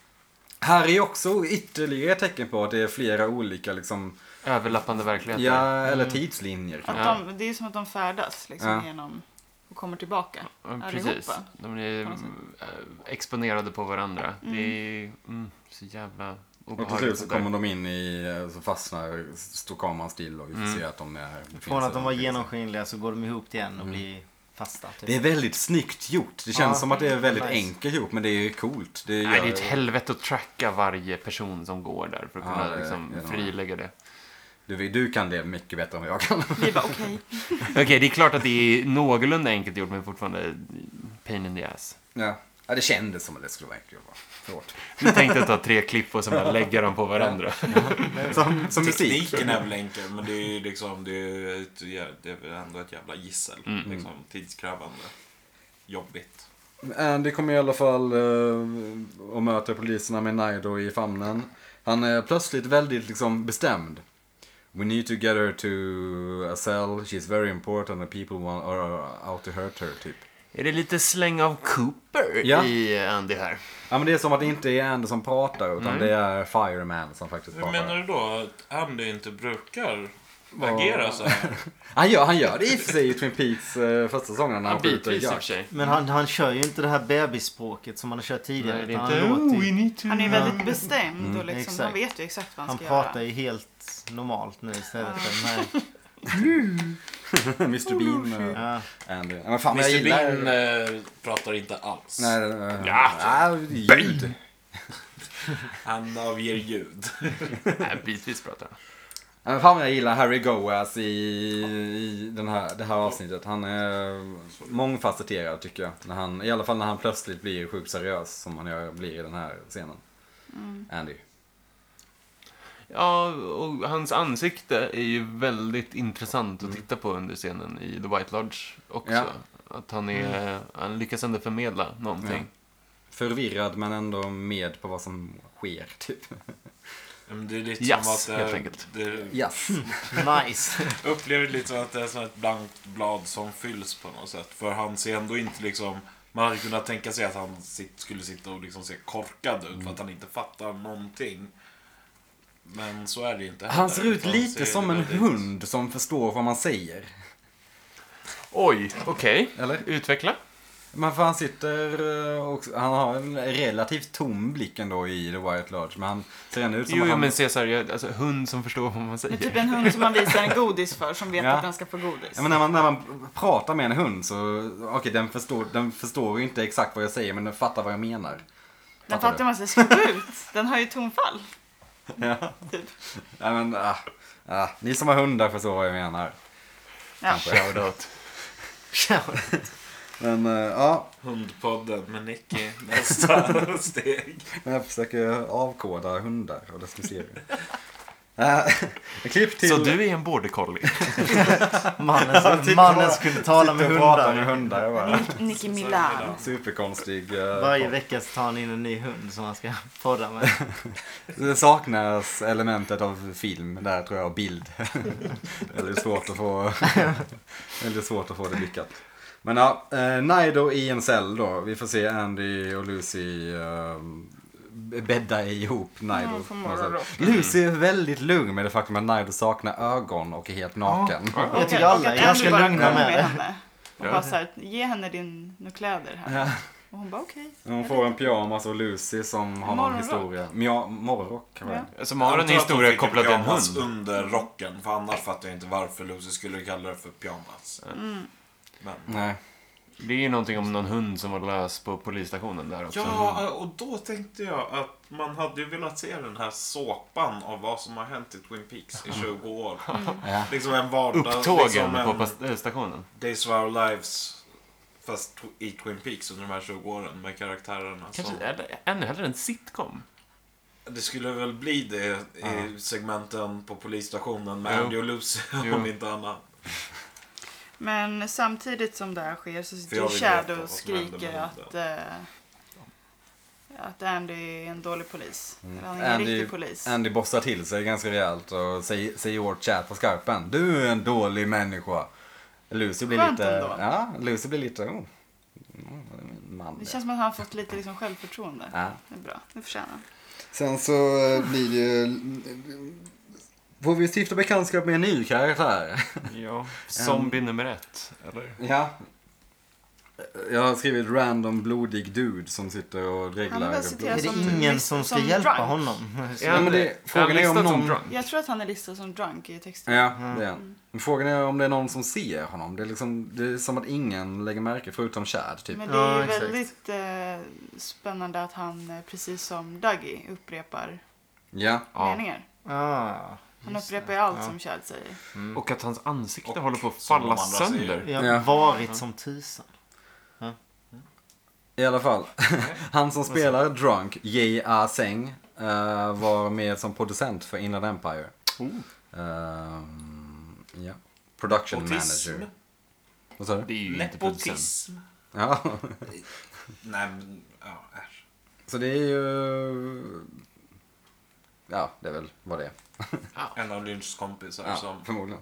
Här är också ytterligare ett tecken på att det är flera olika liksom, Överlappande verkligheter. ja, eller tidslinjer. Mm. typ. Att Ja. de, det är som att de färdas liksom, Ja. genom och kommer tillbaka. Ja, Allihopa, Precis. De är på något sätt. eh, exponerade på varandra. Det är mm, så jävla Och liksom till slut obehagligt. så det där. kommer de in i, eh, så fastnar, står kameran still och vi får Mm. se att de är... det finns Från att de var någonting. genomskinliga så går de ihop igen och blir fasta. Typ. Liksom. Det är väldigt snyggt gjort. Det känns som att det är väldigt enkelt gjort men det är coolt. Det Nej, gör- det är ett helvete att tracka varje person som går där för att Ja, kunna det- liksom, det är nog- frilägga det. du, du kan det mycket bättre än vad jag kan. Vi bara okej. Okej, det är klart att det är någorlunda enkelt gjort men fortfarande pain in the ass. [LAUGHS] Ja. ja, det kändes som att det skulle vara enkelt. va? Förlåt. Du tänkte ta tre klipp och sen bara lägga dem på varandra. Som, som musik. Tekniken är väl enkel, men det är ju liksom, det är, ett, jä- det är ändå ett jävla gissel. Mm. Liksom, tidskrävande. Jobbigt. Andy kommer i alla fall eh, och möter poliserna med Nido i famnen. Han är plötsligt väldigt liksom bestämd. We need to get her to a cell. She's very important and people want, are out to hurt her, typ. Är det lite släng av Cooper Ja. i Andy här? Ja, men det är som att det inte är Andy som pratar utan det är Fireman som faktiskt Hur pratar. menar du då? Att Andy inte brukar agera så här? Han, gör, han gör det i och för sig i Twin Peaks eh, första säsongen när han skjuter Bitvis i och för Jack. [LAUGHS] sig. Men han, han kör ju inte det här bebisspråket som han har kört tidigare. Nej, det är utan inte... han, låter Oh, we ju, need to... Han är Mm. väldigt bestämd och liksom, Exakt. han vet ju exakt vad han, han ska pratar göra. ju helt normalt nu istället för den här. [LAUGHS] Mr Bean och Ja. Andy. [LAUGHS] Ja, Men fan, jag Mr gillar... Bean eh, pratar inte alls. Nej, eh, Ja, ja, ljud. Han avger ljud. Nej, bitvis pratar han. Ja, men fan vad jag gillar Harry Goas i, i den här, det här avsnittet. Han är mångfacetterad tycker jag. När han, I alla fall när han plötsligt blir sjukt seriös som han gör, blir i den här scenen. Andy. Ja, och hans ansikte är ju väldigt intressant att titta på under scenen i The White Lodge också. Ja. Att han, är, han lyckas ändå förmedla någonting. Förvirrad men ändå med på vad som sker typ. Men det är lite Jazz, som att det, helt enkelt. det Yes. Nice. upplever det lite som att det är som ett blankt blad som fylls på något sätt. För han ser ändå inte liksom... Man hade kunnat tänka sig att han sit, skulle sitta och liksom se korkad ut för att han inte fattar någonting. Men så är det ju [LAUGHS] inte Han ser ut utan lite som en väldigt- hund som förstår vad man säger. Oj, okej. Eller? Utveckla. Men för han sitter eh, och han har en relativt tom blick ändå i The White Lodge. Men han ser ändå ut som Jo, att jo, han... men Cesar, jag, alltså, hund som förstår vad man Men [LAUGHS] säger. typ en hund som man visar en godis för som vet Ja. att den ska få godis. Ja, men när, man, när man pratar med en hund så, okej den, förstår, den förstår ju inte exakt vad jag säger men den fattar vad jag menar. den fattar fattar man sig skriv ut. Den har ju tonfall. Ja. Typ. Nej, men, ah, ah, ni som har hundar förstår vad jag menar. Ja. Shoutout. Men eh, ja, Hundpodden med Nicky. [LAUGHS] Nästa steg. men jag försöker avkoda hundar och dess [LAUGHS] mysterier. Eh, [LAUGHS] Klipp till... Så du är en border collie? Mannen, som, mannen skulle tala med Sitter och pratar med hundar. hundar. Jag bara, Nicky Milan. superkonstig. eh, Varje vecka så tar han in en ny hund som han ska [LAUGHS] podda med. Det saknas elementet av film där tror jag, och bild. Eller det är svårt att få, eller det är svårt att få det lyckat. Men ja, eh, Nido i en cell då. Vi får se Andy och Lucy eh, bädda ihop Nido. Mm, på får något man sätt. Lucy är väldigt lugn med det faktum att Nido saknar ögon och är helt naken. Jag tycker alla är ganska lugna med det. henne. Och bara så här, ge henne din, några kläder här. Och hon bara okej. Hon får en pyjamas och Lucy som har någon Morgonrock. historia. Mja, morgonrock kan man säga. Som har en Antar att de historia fick alltså- kopplad till en pyjamas hund. under rocken. För annars fattar jag inte varför Lucy skulle kalla det för pyjamas. Men Nej. Det är ju någonting om någon hund som var lös på polisstationen där också. Mm. Ja, alltså, eh, och då tänkte jag att man hade ju velat se den här såpan av vad som har hänt i Twin Peaks i [LAUGHS] 20 år. Liksom en vardag. Mm. Upptågen liksom på en pas- eh, stationen. Days of Our Lives. Fast tw- i Twin Peaks under de här 20 åren med karaktärerna. Kanske, som- eller, ännu hellre en sitcom. Det skulle väl bli det i segmenten på polisstationen med Jo. Andy och Lucy Jo. om inte annat. Men samtidigt som det här sker så sitter jag ju vill veta Shadow och vad som händer skriker med att, eh, att Andy är en dålig polis. Eller han är en Mm. Andy, riktig polis. Andy bossar till sig ganska rejält och säger, säger åt Chad på skarpen. Du är en dålig människa. Lucy blir Skönt lite... ändå. Ja, Lucy blir lite... Oh. mm, Man, Det det. känns som att han har fått lite liksom självförtroende. Ja. Det är bra, det förtjänar han. Sen så eh, blir det ju... Får vi stifta bekantskap med en ny karaktär? Ja. Zombie nummer ett. Eller? Ja. Jag har skrivit random blodig dude som sitter och Han har dreglar. väl citerat Är som det ingen som ska hjälpa drunk. honom? [LAUGHS] Ja, men det, frågan är om någon... Jag tror att han är listad som drunk i texten. Ja, det är han. Men Frågan är om det är någon som ser honom. Det är, liksom, det är som att ingen lägger märke förutom Chad typ. Men det är Ja, ju exakt. väldigt eh, spännande att han, eh, precis som Dougie, upprepar Ja. meningar. Ah, Han upprepar ju allt som Chad säger. Och att hans ansikte Och håller på att som de falla andra sönder. jag har Ja. varit som tusan. I alla fall. [LAUGHS] Han som spelar Drunk, J.A. Seng, eh, var med som producent för Inland Empire. Ehm, ja. Production Autism. manager. Vad sa Det du? är ju inte producent. Nepotism. Ja. [LAUGHS] Nej, men ja, äsch. Så det är ju... Ja, det är väl vad det är. En av Lynchs kompisar Ja, Typ som... förmodligen.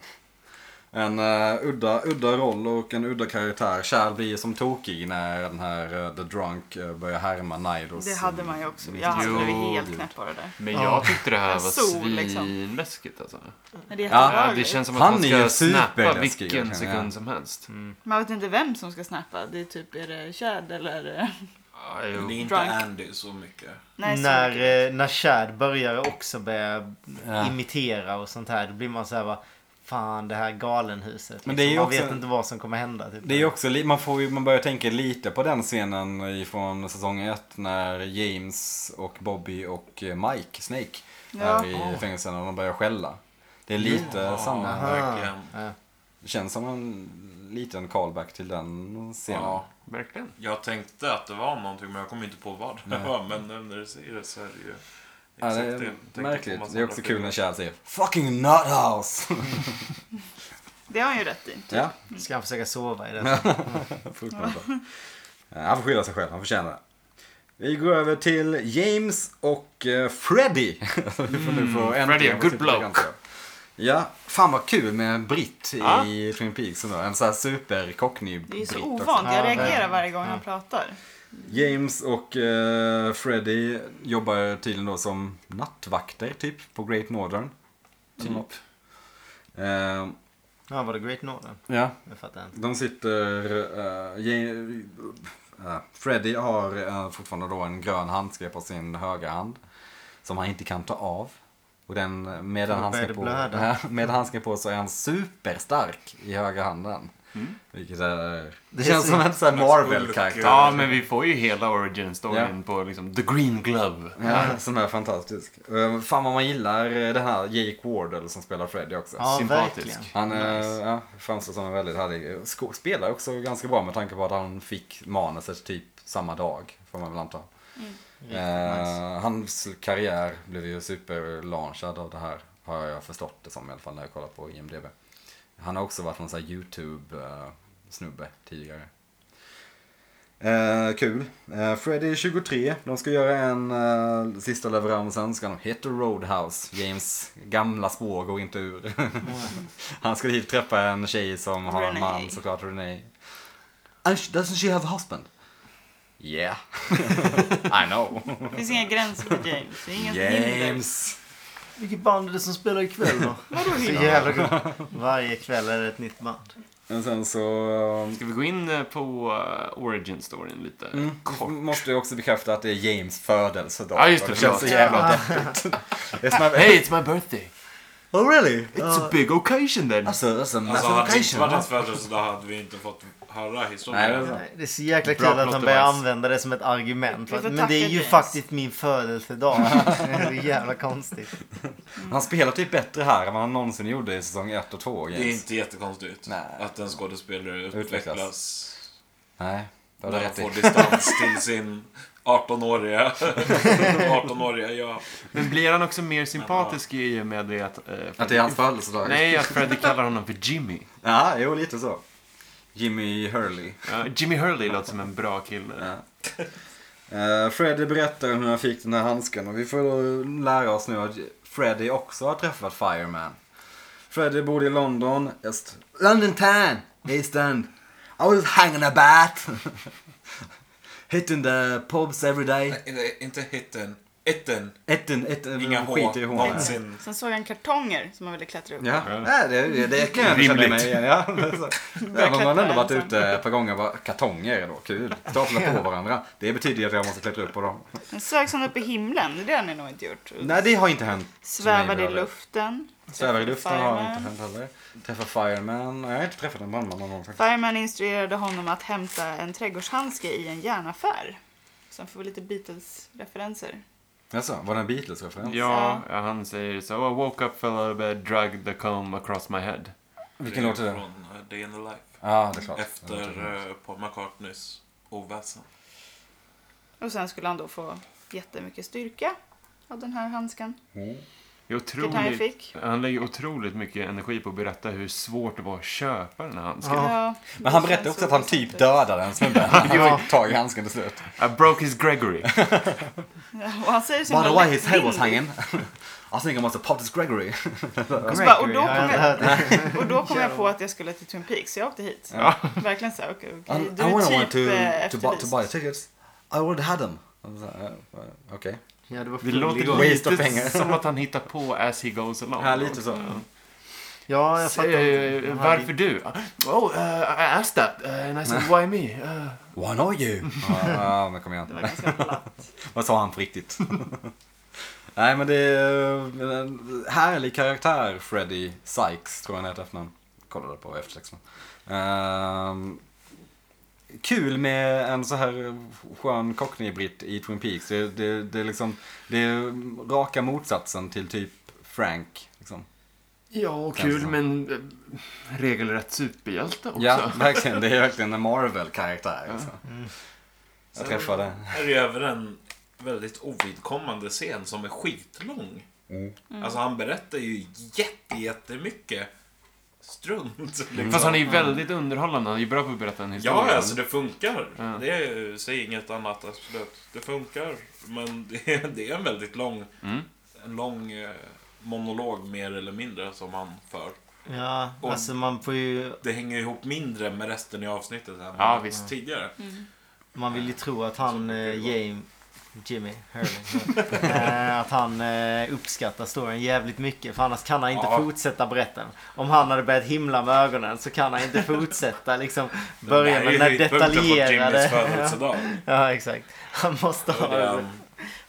En eh, udda, udda roll och en udda karaktär. Kärl blir som tokig när den här eh, The Drunk eh, börjar härma Nidos. Det hade man ju också. Mm. Jag hade Jo, blivit helt gud. knäpp av det där. Men jag tyckte det här var Sol, liksom. svinläskigt alltså. Men det är Ja, Ja, det jätteobehagligt. känns som att Han han är ska ju snappa superläskig, verkligen, vilken ja. sekund som helst. Man vet inte vem som ska snappa. Det är typ, är det Chad eller? eh, Ja, Men det är jo. inte Drunk. Andy så mycket. [LAUGHS] Nej, så mycket. när, eh, när Chad börjar också börja Ja. imitera och sånt här. Då blir man så här va, Fan det här galenhuset. Liksom. Men det är ju man också- vet inte vad som kommer hända. Typ. Det är ju också, li- man, får ju, man börjar tänka lite på den scenen ifrån säsong 1 när James och Bobby och eh, Mike, Snake, Ja. är i fängelsen och de börjar skälla. Det är lite Ja, samma. verkligen. Ja. Det känns som en liten callback till den scenen. Ja. Verkligen. Jag tänkte att det var någonting men jag kom inte på vad [LAUGHS] det var. Men nu när du säger det så är det ju... Ja, det exakt är Jag tänkte på märkligt. massa Det är också andra kul filmer. när Chad säger “Fucking nut house!” Det har han ju rätt i. Ja, Ska han försöka sova i [LAUGHS] det? fruktansvärt. Eh, Han får skylla sig själv, han förtjänar det. Vi går över till James och eh, Freddy. [LAUGHS] Mm, Du får nu få äntligen Freddy, få good sitt bloke. bekantskap. Ja, fan vad kul med en britt i Ja. Twin Peaks. ändå. En sån här supercockney Det är ju så britt också. ovant. Ja, Jag reagerar verkligen. varje gång han pratar. James och eh, Freddy jobbar tydligen då som nattvakter typ på Great Northern. Typ. Eh, Ja, var det Great Northern? ja, Jag fattar inte. De sitter... eh, ge- eh, Freddy har eh, fortfarande då en grön handske på sin högra hand. Som han inte kan ta av. Och den, eh, med den Då börjar handsken det på, [LAUGHS] blöda. med handsken på så är han superstark i högra handen. Vilket är... Det Mm. är känns så- som en sån här Marvel-karaktär. Ja, men vi får ju hela origin storyn på liksom The Green Glove. Ja, som är fantastisk. Eh, Fan vad man gillar eh, den här Jake Wardle som spelar Freddy också. Ja, sympatisk. verkligen. Han eh, ja, framstår som en väldigt härlig. eh, sko- Spelar också ganska bra med tanke på att han fick manuset typ samma dag. Får man väl anta. Eh, Hans karriär blev ju superlaunchad av det här. Har jag förstått det som i alla fall när jag kollar på IMDB. Han har också varit någon sån här YouTube-snubbe tidigare. Eh, kul. Eh, Freddy är 23. De ska göra en eh, sista leveransen. Ska de heta Roadhouse. James gamla spår går inte ur. [LAUGHS] Han ska dit träffa en tjej som har en Renee. man såklart, Renee. And she- Doesn't she have a husband? Yeah. I know. Det finns inga gränser för James. Det är inga hinder. James. Vilket band är det som spelar ikväll [LAUGHS] då? Så jävla gott. [LAUGHS] Varje kväll är det ett nytt band. Men sen så... eh, Ska vi gå in eh, på eh, origin storyn lite Mm. kort? Måste jag också bekräfta att det är James födelsedag. Ja, just det, Och det känns så förlåt. jävla deppigt. Det är som att- Hey, it's my birthday! Oh really? It's a big occasion then. Alltså, alltså Alltså hade det inte massification. varit hans födelsedag hade vi inte fått höra Nej, historien. det är Nej, Det är så jäkla Bra kul att han plot börjar device. använda det som ett argument. Vi får Men tacka det är ju James. faktiskt min födelsedag. [LAUGHS] Det är så jävla konstigt. han spelar typ bättre här än vad han någonsin gjorde i säsong 1 och 2. Det är inte jättekonstigt Nej. att en skådespelare Utvecklas. utvecklas Nej, det har du när han rätt får i. distans till sin [LAUGHS] 18-åriga 18-åriga jag. Men blir han också mer sympatisk i och med det att... eh, Att det är hans födelsedag. Nej, att Freddy kallar honom för Jimmy. Ja, jo lite så. Jimmy Hurley. Ja, Jimmy Hurley låter som en bra kille. Ja. Eh, Freddy berättar om hur han fick den här handsken och vi får då lära oss nu att Freddy också har träffat Fireman. Freddy bodde i London, Est... London town, East End. I was hanging about. [LAUGHS] Hitting the pubs every day. Nej, Inte hitten. Itten. Etten, etten, Inga H. skit i håren. Någonsin. Sen såg han kartonger som han ville klättra upp. Ja, ja. det, det, det kan jag känna mig igen. Ja. Där har man ändå varit ute ett par gånger och bara, kartonger då, kul. Stapla på varandra. Det betyder ju att jag måste klättra upp på dem. Sen sögs han upp i himlen, det har han nog inte gjort. Nej, det har inte hänt. Svävade i Nej, luften. Svävar i luften har Fireman. inte hänt heller. Träffa fireman. Nej, jag har inte träffat en brandman någon gång faktiskt. Fireman instruerade honom att hämta en trädgårdshandske i en järnaffär. Sen får vi lite Beatles-referenser. Jaså, var det en Beatles-referens? Ja, han säger så. I woke up, fell out of bed, dragged the comb across my head. Vilken låt är det? Ja, Från eh, Day in the Life. det är klart. Efter eh, Paul McCartneys oväsen. Och sen skulle han då få jättemycket styrka av den här handsken. Mm. Det är Vilket han ju Otroligt. fick. Han lägger otroligt mycket energi på att berätta hur svårt det var att köpa den här handsken. Ja, Men han det berättade känns också att så han typ sant. dödade en snubbe. Han fick tag i handsken till slut. I broke his Gregory. Ja, Och han säger så By the himla way, his head was lättvindigt. hanging. [LAUGHS] I think I must have popped his Gregory. Och, så bara, och, då Gregory, kom har jag jag, hört det? och då kom jag på att jag skulle till Twin Peaks, så jag åkte hit. Verkligen så här, okej, okej. I, Du I wouldn't är want typ eh, to, to, buy, to efterlyst. buy tickets. I already had them. I was like, uh, uh, Okej. Ja, det var Det full låter igång. Waste of lite anger. som att han hittar på as he goes along. Ja, lite så. Ja, jag fattar inte. Eh, Han hade- varför du? Oh, uh, I asked that. Uh, and I said, why me? Uh, One are [LAUGHS] you? Ja, ja, men kom igen. Det var ganska platt. [LAUGHS] Vad sa han på riktigt? [LAUGHS] Nej men det är eh, en härlig karaktär Freddy Sykes tror jag han heter efternamn. Kollade på eftertexten. Ehm, kul med en så här skön cockney-britt i Twin Peaks. Det, det, det, är liksom, det är raka motsatsen till typ Frank. Liksom. ja, och Känns kul så. men eh, regelrätt superhjälte också. Ja, [LAUGHS] verkligen. Det är verkligen en Marvel-karaktär. Alltså. Mm. Jag Sen träffade... är det över en väldigt ovidkommande scen som är skitlång. Mm. Alltså han berättar ju jätte, jättemycket strunt. Liksom. Mm. Fast han är ju väldigt underhållande. Han är ju bra på att berätta en historia. Ja, alltså det funkar. Ja. Det är, säg inget annat, absolut. Det funkar. Men [LAUGHS] det är, det är en väldigt lång, Mm. en lång eh, monolog mer eller mindre som han för. Ja, alltså man får ju... Det hänger ihop mindre med resten i avsnittet än Ja, visst. tidigare. Man vill ju tro att han, eh, James... Jimmy Hurley. eh, att han eh, uppskattar storyn jävligt mycket. För annars kan han inte Ja. fortsätta berätta den. Om han hade börjat himla med ögonen så kan han inte fortsätta liksom. Börja med den här Jimmys [LAUGHS] detaljerade... födelsedag. [LAUGHS] Ja, exakt. Han måste ha Början.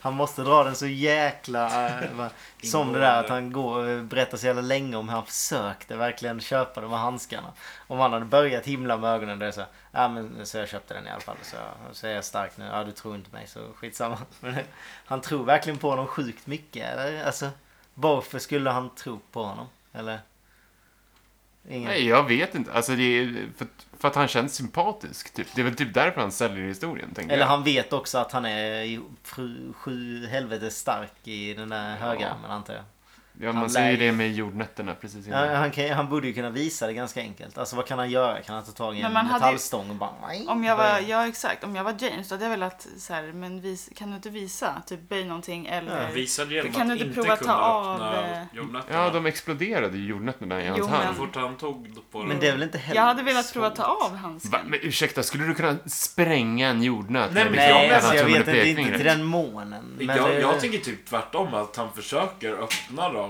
Han måste dra den så jäkla... eh, va- som det där att han går, eh, berättar så jävla länge om hur han försökte verkligen köpa de här handskarna. Om han hade börjat himla med ögonen där så... Ja men så jag köpte den i alla fall. Så, så är jag stark nu. Ja du tror inte mig så skitsamma. [LAUGHS] Men, eh, han tror verkligen på honom sjukt mycket. Eller? Alltså, varför skulle han tro på honom? Eller? Ingen. Nej, jag vet inte. Alltså det är för, att- för att han känns sympatisk, typ. Det är väl typ därför han säljer historien, tänker Eller jag. han vet också att han är i fru, sju helvetes stark i den där högerarmen antar jag. Ja, man han ser ju lär- det med jordnötterna precis innan. Ja, Mm. han, kan, han borde ju kunna visa det ganska enkelt. Alltså vad kan han göra? Kan han ta tag i en Men man hade ju- metallstång och bara... Om jag var, ja exakt, om jag var James då hade jag velat så här, men vis, kan du inte visa? Typ böj någonting eller... Visade Kan genom du att inte inte prova att kunna ta av, eh, öppna jordnötterna. Ja, de exploderade ju jordnötterna i hans Jo, Så hand. fort han tog på Men det är väl inte heller jag hade velat prova svårt. ta av Va? handsken. Men ursäkta, skulle du kunna spränga en jordnöt? Nej, med men- liksom Nej, Ja, alltså, ena jag tummen vet och inte. Inte pekfingret? till den månen. Men jag, det- jag tänker typ tvärtom, att han försöker öppna dem.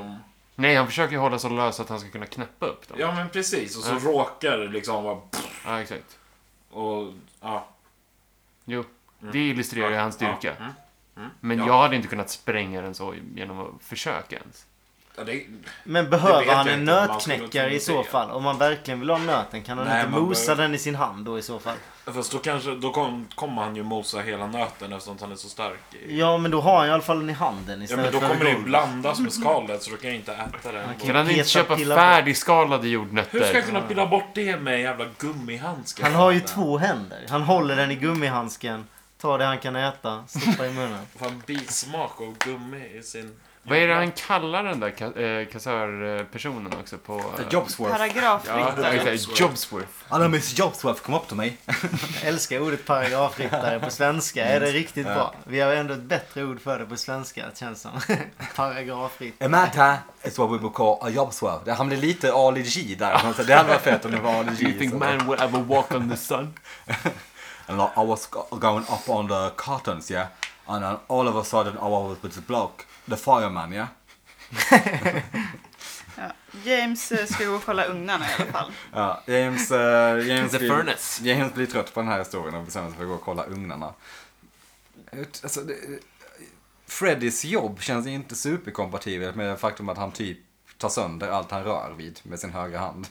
Nej, han försöker ju hålla så lös att han ska kunna knäppa upp dem. Ja men precis, och så Ja. råkar det liksom vara... Ja, exakt. Och, ja. Jo, det illustrerar ju hans Mm. Ja, styrka. mm, mm, Men ja. jag hade inte kunnat spränga den så genom att försöka ens. Ja, det, Men Det behöver vet han jag en inte, men man skulle nötknäckare i kunna så se. fall? Om man verkligen vill ha nöten kan han Nej, inte man mosa behöver- den i sin hand då i så fall? fast då kanske, då kom- kommer han ju mosa hela nöten eftersom han är så stark. i- Ja men då har han i alla fall den i handen Ja, istället men då för kommer det ju golvet. blandas med skalet så då kan jag inte äta den. Okej. Kan han inte Peta, köpa pilla på. färdigskalade Hur ska jag jordnötter? kunna pilla bort det med en jävla gummihandske? Han har ju två händer. Han håller den i gummihandsken, tar det han kan äta, stoppar i munnen. Fan, bismak av gummi i sin... Vad är det han kallar den där ka- eh, kassörpersonen också på... eh, Jobsworth. Ja, Paragrafryttare. exakt. Jobsworth. Alla miss Jobsworth kom upp till mig. Jag älskar ordet paragrafryttare på svenska. Är det riktigt bra? Vi har ändå ett bättre ord för det på svenska känns som. [LAUGHS] paragrafryttare. Amata is what we would call a Jobsworth. Han blev lite Ali G där. Så Det hade varit fett om det var Ali Do you G. think så- man will ever walk on the sun? And like, I was go- going up on the curtains, yeah? And then all of a sudden I was with the bloke, the fireman, yeah? Ja. James eh, ska gå och kolla ugnarna i alla fall. Ja, James, eh, James, The blir, furnace. James blir trött på den här historien och bestämmer sig för att gå och kolla ugnarna. Ut- Alltså, det, Freddys jobb känns inte superkompatibelt med det faktum att han typ tar sönder allt han rör vid med sin högra hand.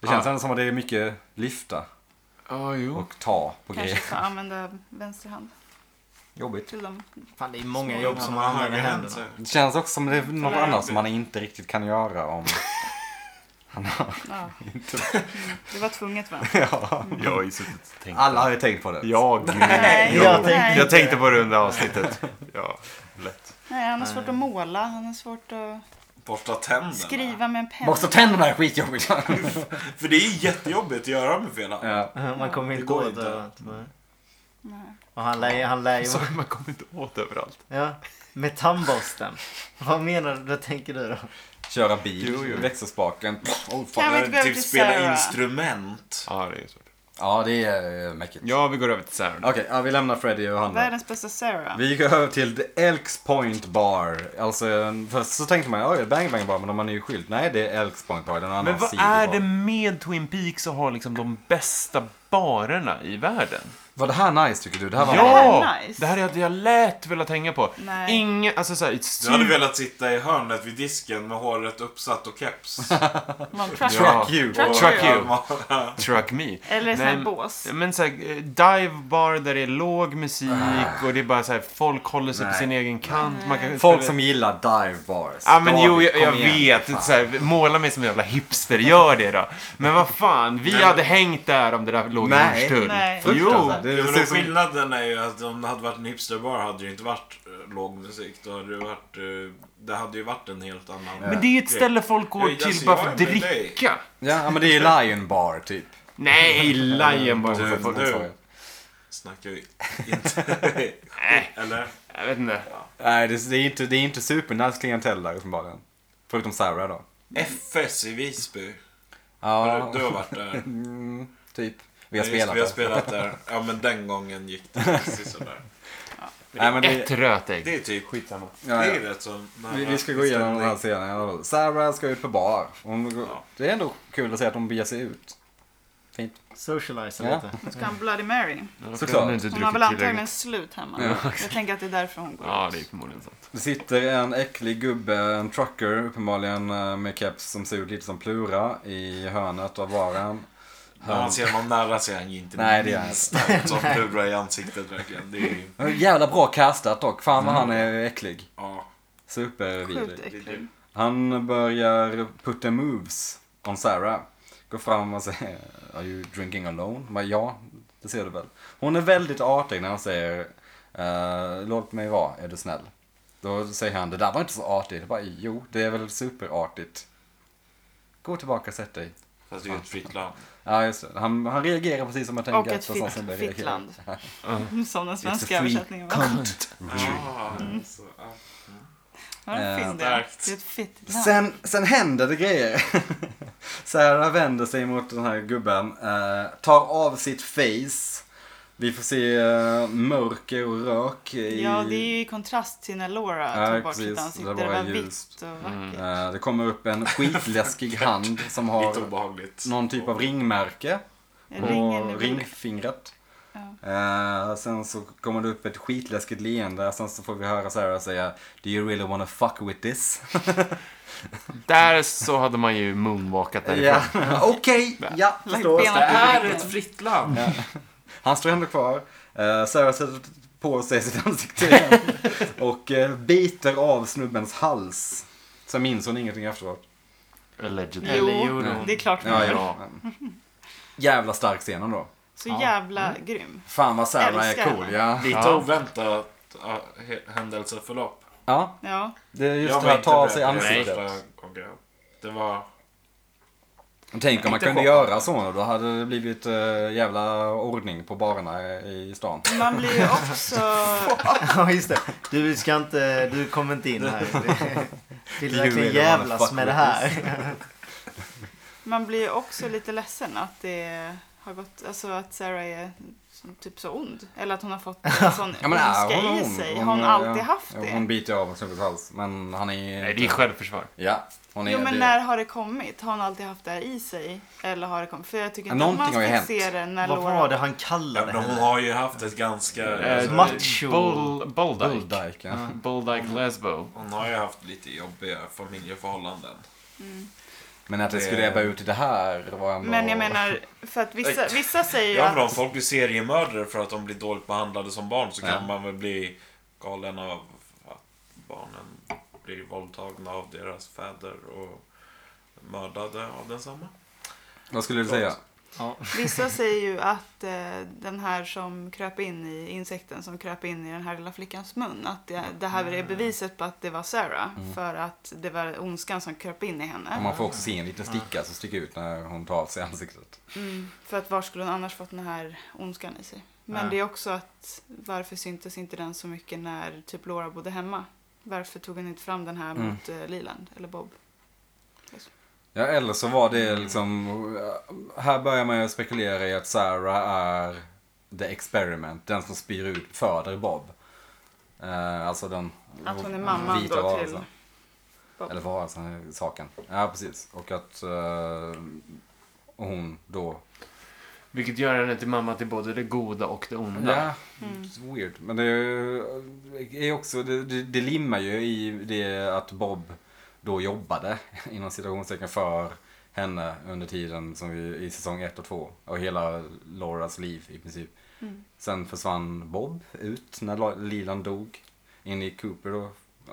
Det känns Ja. ändå som att det är mycket lyfta Ja, jo. och ta på Kanske grejer. ska använda vänster hand Jobbigt. till dem. Fan det är många jobb som man använder händerna. Det känns också som det är något Eller- annat som man inte riktigt kan [LAUGHS] göra om... Ja. Det var tvunget va? Jag har ju suttit och tänkt. Alla har ju tänkt på det. [LAUGHS] Jag, Nej, Jo. Jag tänkte- jag tänkte på det under avsnittet. Ja, lätt. Nej, han har svårt att måla, han har svårt att Borsta tänderna. skriva med en penna. Borsta tänderna [LAUGHS] är skitjobbigt! För det är ju jättejobbigt att göra med fel hand. ja. Man kommer Det inte går åt inte. överallt. va? Nej. Och han lär, ju- han lär ju... [LAUGHS] Så man kommer inte åt överallt. Ja, med tandborsten. Vad menar du? Vad tänker du då? Köra bil, växelspaken. Kan Oh, fan. vi Eller inte gå över typ till spela Sarah? instrument. Ja, det är svårt. Ja, det är eh, mäckigt. Ja, vi går över till Sarah nu. Okej, ja, vi lämnar Freddy och han. Världens bästa Sarah. Vi går över till The Elks Point Bar. Alltså, en- först så tänkte man, oj, Bang Bang Bar, men om man är ju skilt. Nej, det är Elks Point Bar, det är någon Men annan vad är det med Twin Peaks som har liksom de bästa barerna i världen? Var det här nice tycker du? Det här var Ja! nice. Det här är att jag lätt velat hänga på. Nej. Ingen, alltså såhär, Du hade velat sitta i hörnet vid disken med håret uppsatt [LAUGHS] och keps. Man trash Ja. you. you. Trash Truck you. you. Truck me. Eller sån här Nej, bås. Men såhär, eh, dive bar där det är låg musik och det är bara såhär, folk håller sig på Ah. Nej. sin egen kant. Man kan, Folk som gillar dive bars. Ja men jo, David, jag, kom jag igen, för vet. fan. Så här, måla mig som en jävla hipster, gör det då. Men vad fan, vi hade hängt där om det där låg i Nej. Hornstull. Nej. Jo, Fruktansvärt. Det är Jo, men precis som... skillnaden är ju att om det hade varit en hipsterbar hade det ju inte varit eh, låg musik. Då hade det, varit, eh, det hade ju varit en helt annan... eh, men det är ju ett ställe folk går Jag- till alltså, bara jag för att är med dig. dricka. Ja, men det är ju Lion Bar typ. [LAUGHS] Nej, Lion bara. Du, Folk- du snackar ju inte... [LAUGHS] Nej, Eller? jag vet inte. Nej, det, det är inte, det är inte supernice klientell där uppenbarligen. Förutom Sarah då. FS i Visby. Ja, Har Du, du har varit där. mm, typ. [LAUGHS] Vi har Ja, just, spelat vi har där. spelat där. Ja, men den gången gick det precis sådär. Nej, men det, Ett rötägg. Det är typ... Skitsamma. Ja, ja. Det är rätt så nära Vi, vi ska gå igenom den här stämning. scenen. i alla fall. Sarah ska ut på bar. Hon, går- Ja. Det är ändå kul att se att hon beger sig ut. Fint. Socialize Ja. lite. Nu ska han Bloody Mary. Såklart. Hon inte Hon har väl druckit antagligen tillräckligt. slut hemma. Jag tänker att det är därför hon går Ja, ut. det är förmodligen sant. Det sitter en äcklig gubbe, en trucker uppenbarligen eh, med keps som ser ut lite som Plura i hörnet av [LAUGHS] baren. När man ser honom nära ser han ju inte Nej, det gör han minst [LAUGHS] ut som lurar i ansiktet verkligen. Det är ju... Eh, Jävla bra castat dock. Fan vad han är äcklig. Ja. Sjukt Supervidrig. äcklig. Han börjar putta moves on Sarah. Går fram och säger Are you drinking alone? Men ja, det ser du väl. Hon är väldigt artig när han säger "Eh, Låt mig vara, är du snäll? Då säger han, det där var inte så artigt. Jag bara, jo, det är väl superartigt. Gå tillbaka och sätt dig. Fast det är ju ett fritt land. Ja, just det. Han, han reagerar precis som jag tänker Och ett att personer fitt, som börjar fitt reagera. land. Som den svenska free översättningen var. Ah, alltså, ah. Ja, det Eh, finns det. starkt. Det är ett fitt land. Sen, sen händer det grejer. [LAUGHS] Sarah vänder sig mot den här gubben, eh, tar av sitt face. Vi får se eh, mörker och rök i... Ja, det är ju i kontrast till när Laura Ja, tog bort precis. sitt ansikte. Det Det var var ljust. vitt och vackert. Eh, det kommer upp en skitläskig hand som Lite har obehagligt. någon typ av ringmärke En på ring i en ringfingret. Eh, sen så kommer det upp ett skitläskigt leende. Sen så får vi höra Sarah säga Do you really wanna fuck with this? Där så hade man ju moonwalkat därifrån. Ja, [LAUGHS] okej, ja, förstås. Det är ett fritt land. Han står ändå kvar. Eh, Sarah sätter på sig sitt [LAUGHS] ansikte igen. och eh, biter av snubbens hals. Sen minns hon ingenting efteråt. Allegedly. Jo, Eller gjorde det är klart. Ja, man gör. ja. Jävla stark scen ändå. Så jävla grym. Fan vad Sarah Älskar är cool. henne. Ja. Lite Ja. oväntat äh, he- händelseförlopp. ja, Ja. det är just Jag det här var att inte ta av beredd sig på det ansiktet. första gången. Det var... Tänk om man Inte kunde chockad. göra så nu. Då hade det blivit eh, jävla ordning på barerna i stan. Man blir ju också... Ja, just det. Du ska inte... Du kommer inte in här. Det- Vill du You verkligen really wanna fuck jävlas med det with här? Man blir ju också lite ledsen att det har gått... Alltså att Sarah är som, typ så ond. Eller att hon har fått en sån [LAUGHS] Ja, men är ondska hon i ond? sig. Har hon eh, alltid ja, haft det? Hon biter av snubbens hals. Men han är... Nej, det är självförsvar. Ja, hon är... Jo men det- när har det kommit? Har hon alltid haft det här i sig? Eller har det kommit? För jag tycker Ja, inte att man någonting har ju ska hänt. se det när Vad var det Laura... han Ja, kallade men hon henne? har ju haft ett ganska... Eh, alltså, Macho. Bull, Bulldyke. Bulldike, ja. Bulldyke Lesbo. Hon har ju haft lite jobbiga familjeförhållanden. Men att det Det- skulle ebba ut i det här var ändå... Men jag menar, för att vissa, Nej. vissa säger ju Ja, men om att... folk blir seriemördare för att de blir dåligt behandlade som barn så Ja. kan man väl bli galen av att barnen blir våldtagna av deras fäder och mördade av densamma. Vad skulle du säga? Ja. [LAUGHS] Vissa säger ju att eh, den här som kröp in i insekten som kröp in i den här lilla flickans mun. Att det, det här Mm. är beviset på att det var Sarah. För att det var ondskan som kröp in i Och henne. Mm. man får också se en liten sticka som sticker ut när hon tar av sig ansiktet. Mm, för att var skulle hon annars fått den här ondskan i sig? Men Ja. det är också att varför syntes inte den så mycket när typ Laura bodde hemma? Varför tog hon inte fram den här Mm. mot eh, Liland eller Bob? Alltså, Ja, eller så var det liksom... Här börjar man ju spekulera i att Sarah är the experiment. Den som spyr ut, föder Bob. Eh, alltså den Att hon är mamman vita då till varelsen. Bob. Eller varelsen, saken. Ja, precis. Och att eh, hon då... Vilket gör henne till mamma till både det goda och det onda. Ja, it's weird. Men det är ju- är också, det, det, det limmar ju i det att Bob då jobbade [LAUGHS] inom citationstecken för henne under tiden som vi, i säsong 1 och 2 och hela Lauras liv i princip. Sen försvann Bob ut när La- Lilan dog in i Cooper då.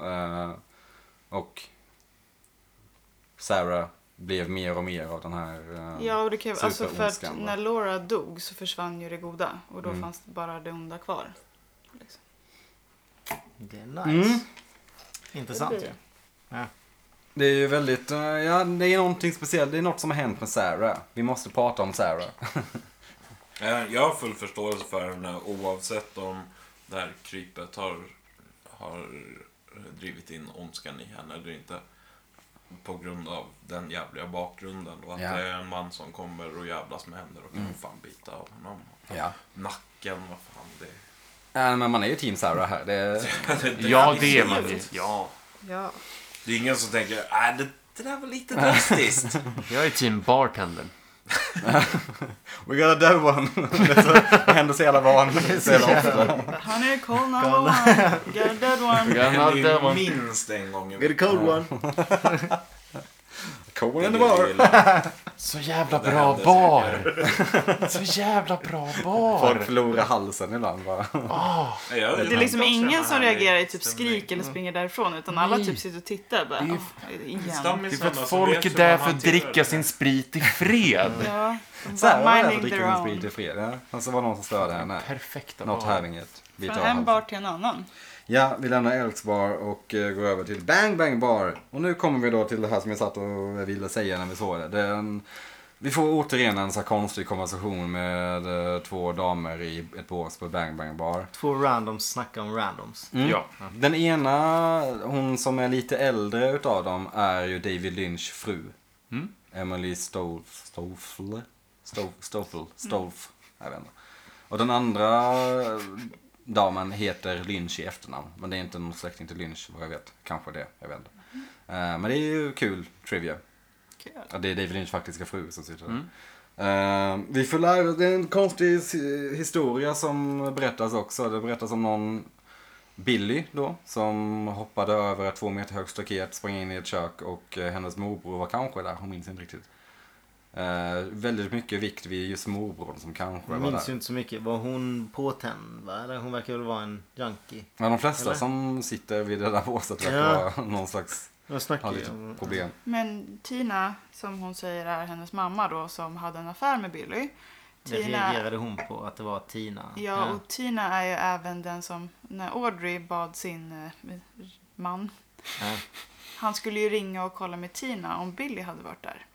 Eh, och Sarah blev mer och mer av den här eh, Ja, och det kan ju, alltså för att superondskan, va? när Laura dog så försvann ju det goda och då Mm. fanns det bara det onda kvar. Liksom. Det är nice. Mm. Intressant ju. Det är ju väldigt, eh, ja det är någonting speciellt, det är något som har hänt med Sarah. Vi måste prata om Sarah. Jag jag har full förståelse för henne oavsett om det här krypet har, har drivit in ondskan i henne eller inte. På grund av den jävliga bakgrunden och att Ja. det är en man som kommer och jävlas med henne. Då kan hon fan bita av honom. Ja. Nacken, vad fan det är. Äh, men man är ju team Sarah här. Det, Ja, det är man ju. Ja. Ja. Det är ingen som tänker äh, det, det där var lite [LAUGHS] drastiskt. Jag är team bartender. we got a dead one. det så- det händer så jävla vanligt, så jävla ofta. Honey, call 911. Got a dead one. Det Jag händer hade ju man- minst en gång i Get a veckan. cold one. Cool in the Det är bar. ju illa. Så jävla Det bra händer bar! Så jävla bra Folk bar! förlorar halsen ibland bara. Nej, jag- Det är liksom ingen som reagerar i typ skrik Stämning. eller springer därifrån utan alla typ sitter och tittar bara. Det är ju- "Åh, igen. Det är Stammisarna för att som folk vet är hur man där för att hanterar det. dricka sin sprit i fred. Ja, de Sarah bara var där för att minding dricka their sin sprit i own. fred. Ja. Och så var det någon som störde henne. Perfekta Not bar. having it. Vi Från tar en halsen. bar till en annan. Ja, vi lämnar Elks bar och eh, går över till Bang Bang bar. Och nu kommer vi då till det här som jag satt och ville säga när vi såg det. det är en, vi får återigen en så här konstig konversation med eh, två damer i ett bås på Bang Bang bar. Två randoms snackar om randoms. Mm. Ja. Den ena, hon som är lite äldre utav dem, är ju David Lynch fru. Mm. Emily Stofle. Stofle? Stofle? Mm. Stof? Jag vet inte. Och den andra eh, damen heter Lynch i efternamn. Men det är inte någon släkting till Lynch vad jag vet. Kanske det, jag vet inte. Eh, Men det är ju kul trivia. Kul. Ja, det är David Lynchs faktiska fru som sitter där. Eh, vi får lära, det är en konstig his- historia som berättas också. Det berättas om någon Billy då, som hoppade över ett två meter högt staket, sprang in i ett kök och eh, hennes morbror var kanske där, hon minns inte riktigt. Eh, väldigt mycket vikt vid just morbrodern som kanske Jag var minns ju där. inte så mycket. Var hon påtänd? Va? Eller hon verkar väl vara en junkie. Men de flesta Eller? som sitter vid det där båset verkar Ja. vara någon slags, Jag ha snackar ju lite om... problem. Men Tina, som hon säger är hennes mamma då, som hade en affär med Billy. Det reagerade hon på, att det var Tina. Ja, och Tina är ju även den som, när Audrey bad sin eh, man, Ja. han skulle ju ringa och kolla med Tina om Billy hade varit där.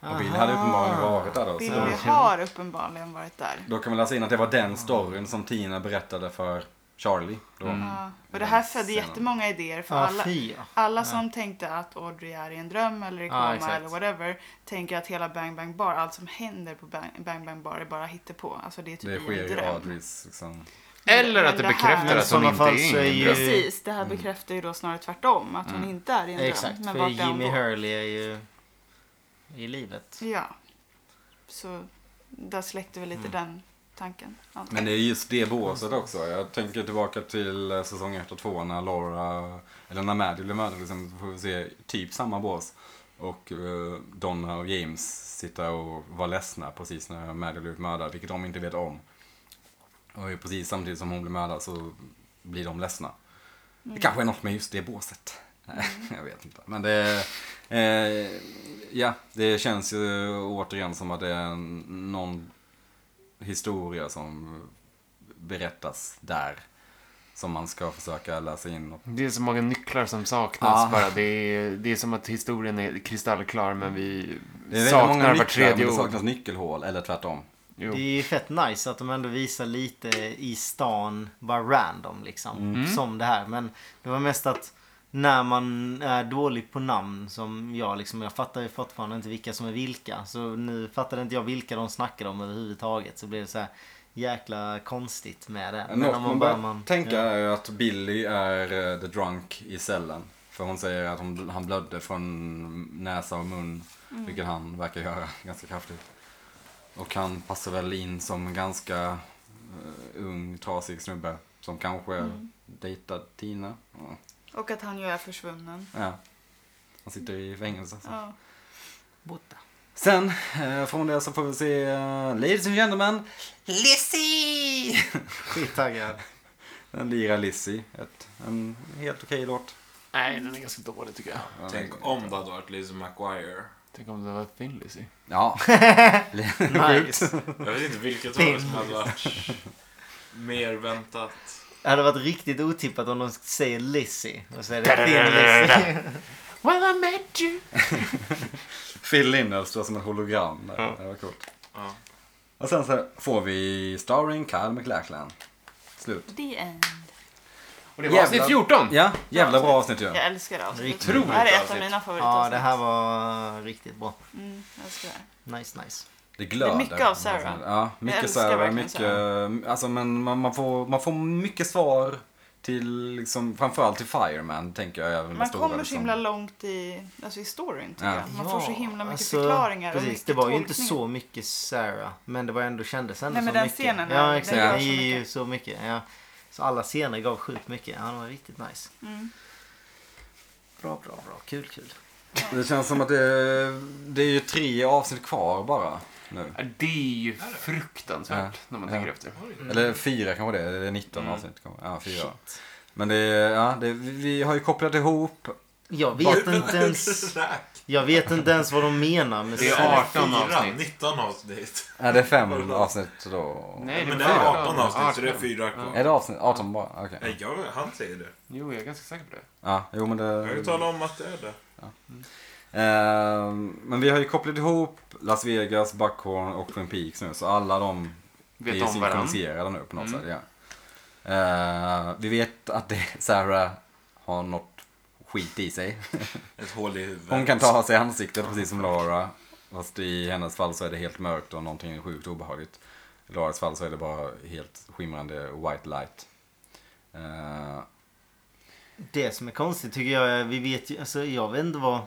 Och Billy hade uppenbarligen varit där då. Billy Så har uppenbarligen varit där. då kan man läsa in att det var den storyn som Tina berättade för Charlie. Då. Ja, och det här födde Sen- jättemånga idéer för Ja, alla, fy ja. alla som tänkte att Audrey är i en dröm eller i koma exakt. eller whatever tänker att hela Bang Bang Bar, allt som händer på Bang Bang, Bang Bar är bara hittepå. Alltså det är Det typ i sker en i dröm. Audreys liksom. Eller Men att det det här- bekräftar Men i att hon sådana inte fall är så är ingen ju- dröm. Precis, det här bekräftar ju då snarare tvärtom att hon inte är i en dröm. Mm. Exakt, för vart är hon Jimmy då? Hurley är ju i livet. Ja. Så där släckte vi Mm. lite den tanken. antar Men jag. det är just det båset också. Jag tänker tillbaka till eh, säsong 1 och 2 när Laura, eller när Maddie blev mördad. Liksom, då får vi se typ samma bås. Och eh, Donna och James sitter och var ledsna precis när Maddie blev mördad, vilket de inte vet om. Och ju precis samtidigt som hon blir mördad så blir de ledsna. Det kanske är något med just det båset. Nej, [LAUGHS] jag vet inte. Men det, eh, ja, det känns ju återigen som att det är en- någon historia som berättas där. Som man ska försöka läsa in. Och, Det är så många nycklar som saknas Ja. bara. Det är, det är som att historien är kristallklar men vi det är väldigt många saknar nycklar, vart tredje men det ord. saknas nyckelhål eller tvärtom. Jo. Det är ju fett nice att de ändå visar lite i stan, bara random liksom. Mm. Som det här. Men det var mest att när man är dålig på namn som jag liksom. Jag fattar ju fortfarande inte vilka som är vilka. Så nu fattade inte jag vilka de snackade om överhuvudtaget. Så blev det så här jäkla konstigt med det. Något om man bör tänka ja. är ju att Billy är eh, the drunk i cellen. För hon säger att hon, han blödde från näsa och mun. Vilket han verkar göra [LAUGHS] ganska kraftigt. Och han passar väl in som en ganska eh, ung, trasig snubbe. Som kanske dejtar Tina. Ja. Och att han ju är försvunnen. Ja. Han sitter i fängelse. så. Ja. Borta. Sen, eh, från det så får vi se eh, Ladies and Gentlemen, Lizzie! [LAUGHS] [LAUGHS] Skittaggad. Den lirar Lizzie. Ett, en helt okej låt. Nej, den är ganska dålig tycker jag. Tänk om det hade varit Lizzie McGuire. Tänk om det var Thin Lizzy. [LAUGHS] Ja. Nice. Jag vet inte vilket av det som hade varit mer väntat. Det hade varit riktigt otippat om de säger Lizzie. Och så är det Thin Lizzie. Well I met you. Phil Lindell står som ett hologram där. Det var coolt. Ja. Och sen så får vi Starring Kyle MacLachlan. Slut. The end. Och det var avsnitt Jävlar. 14! Ja, jävla bra avsnitt ju. Jag älskar det avsnittet. Riktigt Det här är ett av avsnitt. mina Ja, det favoritavsnitt. här var riktigt bra. Mm, jag älskar det. här. Nice, nice. Det glöder. Alltså, Det är mycket av Sarah. Ja, mycket älskar Sarah. verkligen Mycket, Alltså, men man, man, får, man får mycket svar till, liksom, framförallt till Fireman, tänker jag. även med Man stora, kommer så liksom. himla långt i, alltså i storyn tycker Ja. jag. Man får så himla mycket alltså, förklaringar och Precis, mycket det var ju inte tolkningar. så mycket Sarah. Men det var ändå kändes ändå Nej, men så den mycket. scenen, den- ja, den exakt. gav Den så ger ju mycket. så mycket. Ja. Så alla scener gav sjukt mycket. Ja, det var riktigt nice. Mm. Bra, bra, bra. Kul, kul. Det känns som att det, det är ju tre avsnitt kvar bara nu. Ja, Det är ju fruktansvärt Ja. när man Ja. tänker efter. Eller fyra kanske det är, det är 19 avsnitt. kanske. Ja, fyra. Men det, är- ja, det, vi vi har ju kopplat ihop. Jag vet inte [LAUGHS] ens... Jag vet inte ens vad de menar med Det är Sarah. 18 Fyra, avsnitt. 19 avsnitt. Är det fem avsnitt då? Nej, Men det var är fyra. 18 avsnitt så det är fyra kvar. Är det avsnitt? 18 bara? Okej. Nej, jag, han säger det. Jo, jag är ganska säker på det. Ja, jo men Jag har ju det... talat om att det är det. Ehm, men vi har ju kopplat ihop Las Vegas, Buckhorn och Twin Peaks nu. Så alla de Vet är om varandra. synkroniserade nu på något sätt. Ja. Ehm, vi vet att det, Sarah har något skit i sig. Ett hål i huvudet. Hon kan ta sig ansiktet precis som Laura. Fast i hennes fall så är det helt mörkt och någonting är sjukt obehagligt. I Laras fall så är det bara helt skimrande white light. Eh, Det som är konstigt tycker jag är, vi vet ju, alltså jag vet inte vad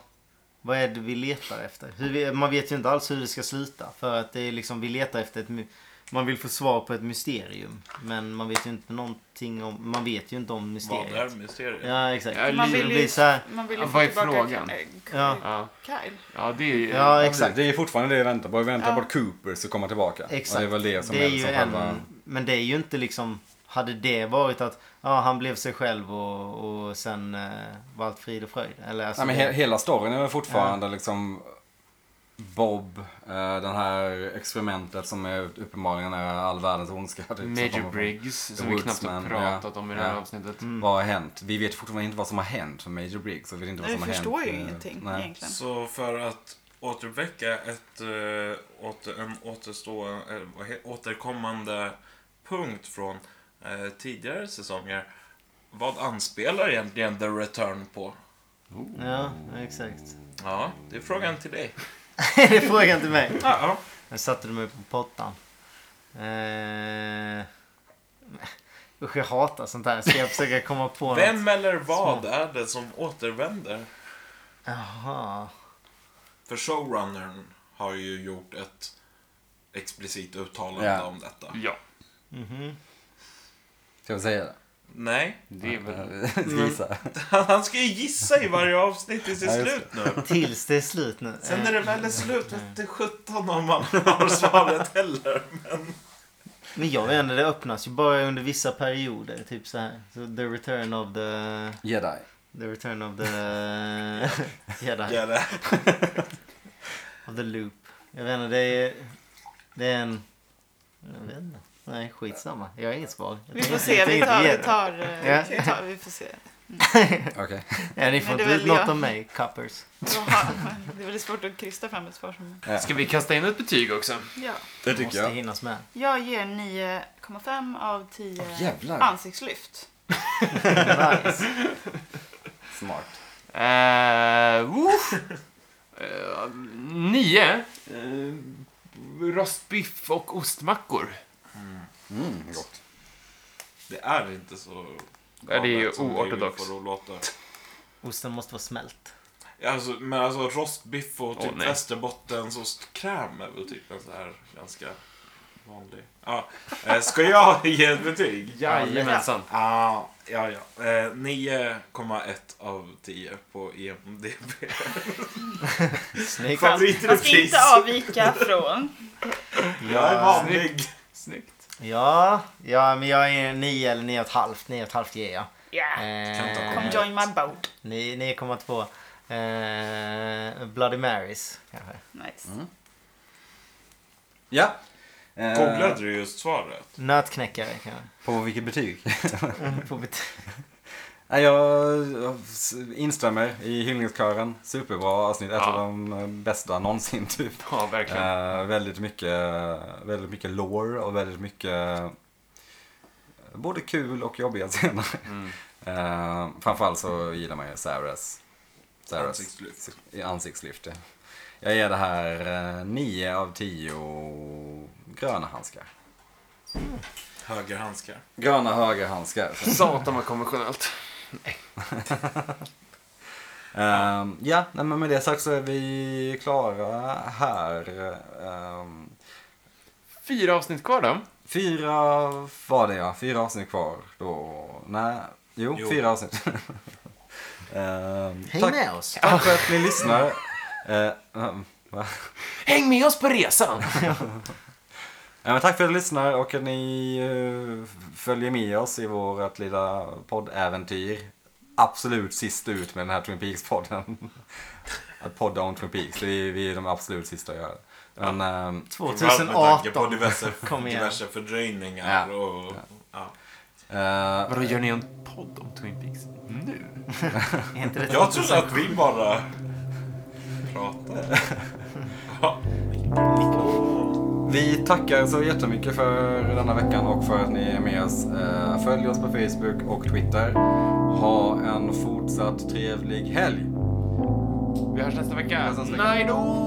Vad är det vi letar efter? Hur vi, man vet ju inte alls hur det ska sluta. För att det är liksom, vi letar efter ett... my- Man vill få svar på ett mysterium. Men man vet ju inte någonting om... Man vet ju inte om Vad är mysteriet. mysteriet? Ja, exakt. Ja, Man Det vill blir ju, så här, man vill ju Ja, få vad är tillbaka frågan? K- K- Ja. Ja, Kyle. ja det är eh, ja, Ja, exakt. precis. Det är fortfarande det vi väntar på. Vi väntar Ja. på att Cooper ska komma tillbaka. Och Exakt. Det är väl det som Det är ju liksom en, själva- Men det är ju inte liksom... Hade det varit att ja, han blev sig själv och, och sen eh, var allt frid och fröjd? Eller alltså, Nej, men det- he hela storyn är väl fortfarande liksom Bob, eh, den här experimentet som är uppenbarligen är all världens ondska. Typ, som Major kommer från- Briggs, som The vi knappt har Woodsman, ja. pratat om i det här Ja. avsnittet. Vad har hänt? Vi vet fortfarande inte vad som har hänt för Major Briggs. Och vi vet inte vad Vi som har hänt. förstår ju eh, ingenting nej. egentligen. Så för att återuppväcka ett, eh, åter, en återstå, eh, vad he- återkommande punkt från eh, tidigare säsonger. Vad anspelar egentligen The Return på? Ja, exakt. [LAUGHS] Ja, det är frågan till dig. det är frågan till mig. Ja, ja. Nu satte du mig på pottan. Eh... Usch, jag hatar sånt här. Ska jag försöka komma på något? Vem eller vad är det som återvänder? Jaha. För showrunnern har ju gjort ett explicit uttalande Ja. om detta. Ja, Mhm. Ska vi säga det? Nej, [LAUGHS] det är väl... [LAUGHS] Ska vi gissa? han ska ju gissa i varje avsnitt i sitt Ja, just slut nu. Tills det är slut nu. Sen när Eh, det väl är slut vete sjutton om man har svaret heller. Men jag vet inte, det öppnas ju bara under vissa perioder. Typ så här. Så the return of the... Jedi. The return of [LAUGHS] the... Jedi. Ja, det- Of the loop. Jag vet inte, det är... Det är en... Jag vet inte. Nej, skitsamma. Jag har inget svar. Jag Vi tänker- får se, jag vi tänker tar, ge vi det. tar, Ja. eh, vi tar, vi får se. Okej. Ja, ni Men får det inte är ut väl något jag. om mig, cuppers. Då har- [LAUGHS] Det är väldigt svårt att krysta fram ett svar som... Ska vi kasta in ett betyg också? Ja. Det Måste hinnas med. Jag ger 9,5 av 10 Åh, jävlar. ansiktslyft. Nice. [LAUGHS] Smart. Eh, woof. Eh, nio. Eh, rostbiff och ostmackor. Mm, gott. Det är inte så... Ja, det är ju galet som oortodox. vi får att låta. Osten måste vara smält. Ja, Alltså, men alltså rostbiff och typ Åh, nej. västerbottens ostkräm är väl typ en så här ganska vanlig. Ja, eh, ska jag [LAUGHS] ge ett betyg? Jajamensan. Ah, ja, ja. Eh, 9,1 av 10 på E IMDB. Snyggt. Man ska Favoritrepris. inte avvika [LAUGHS] från... Jag är Ja, vanlig. Snyggt. ja, ja, men jag är 9 eller 9,5. 9,5 ger jag. Äh, Yeah. Eh, Come join my boat. ni- 9,2. Eh, Bloody Marys kanske. Nice. Ja. Eh, Googlade du just svaret? Nötknäckare [LAUGHS] kanske. På vilket betyg? [LAUGHS] På bet- Nej, jag jag s- instämmer i hyllningskören. Superbra avsnitt. Ett Ja. av de eh, bästa någonsin typ. Ja, verkligen. Eh, väldigt, mycket, väldigt mycket lore och väldigt mycket eh, både kul och jobbiga [LAUGHS] scener. Mm. Eh, framförallt så gillar man ju Sarahs, Sarahs Ansiktslyft. i- ansiktslyft. ja. Jag ger det här eh, 9 av 10 gröna handskar. Högerhandskar. Gröna [LAUGHS] högerhandskar. Satan vad konventionellt. Ehm, ja, nej, men med det sagt så är vi klara här. Ehm, Fyra avsnitt kvar då. fyra var det ja, fyra avsnitt kvar då. Nej, jo, Jo. fyra avsnitt. [LAUGHS] Ehm, Häng tack, med oss. tack för att ni lyssnar. Eh, ehm, va? Häng med oss på resan! Ja, men tack för att ni lyssnar och att ni eh, f- följer med oss i vårt lilla poddäventyr. Absolut sist ut med den här Twin Peaks-podden. [LAUGHS] Att podda om Twin Peaks, vi, vi är de absolut sista att göra det. Men, ehm, Framförallt Med tanke på 2018. diverse, [LAUGHS] Kom igen. diverse fördröjningar Ja. och... Ja. eh, Vadå, gör ni en podd om Twin Peaks nu? Är inte det Jag trodde att vi bara pratade. Ja. Vi tackar så jättemycket för denna veckan och för att ni är med oss. Eh, Följ oss på Facebook och Twitter. Ha en fortsatt trevlig helg! Vi hörs nästa vecka. nästa vecka. Nej då!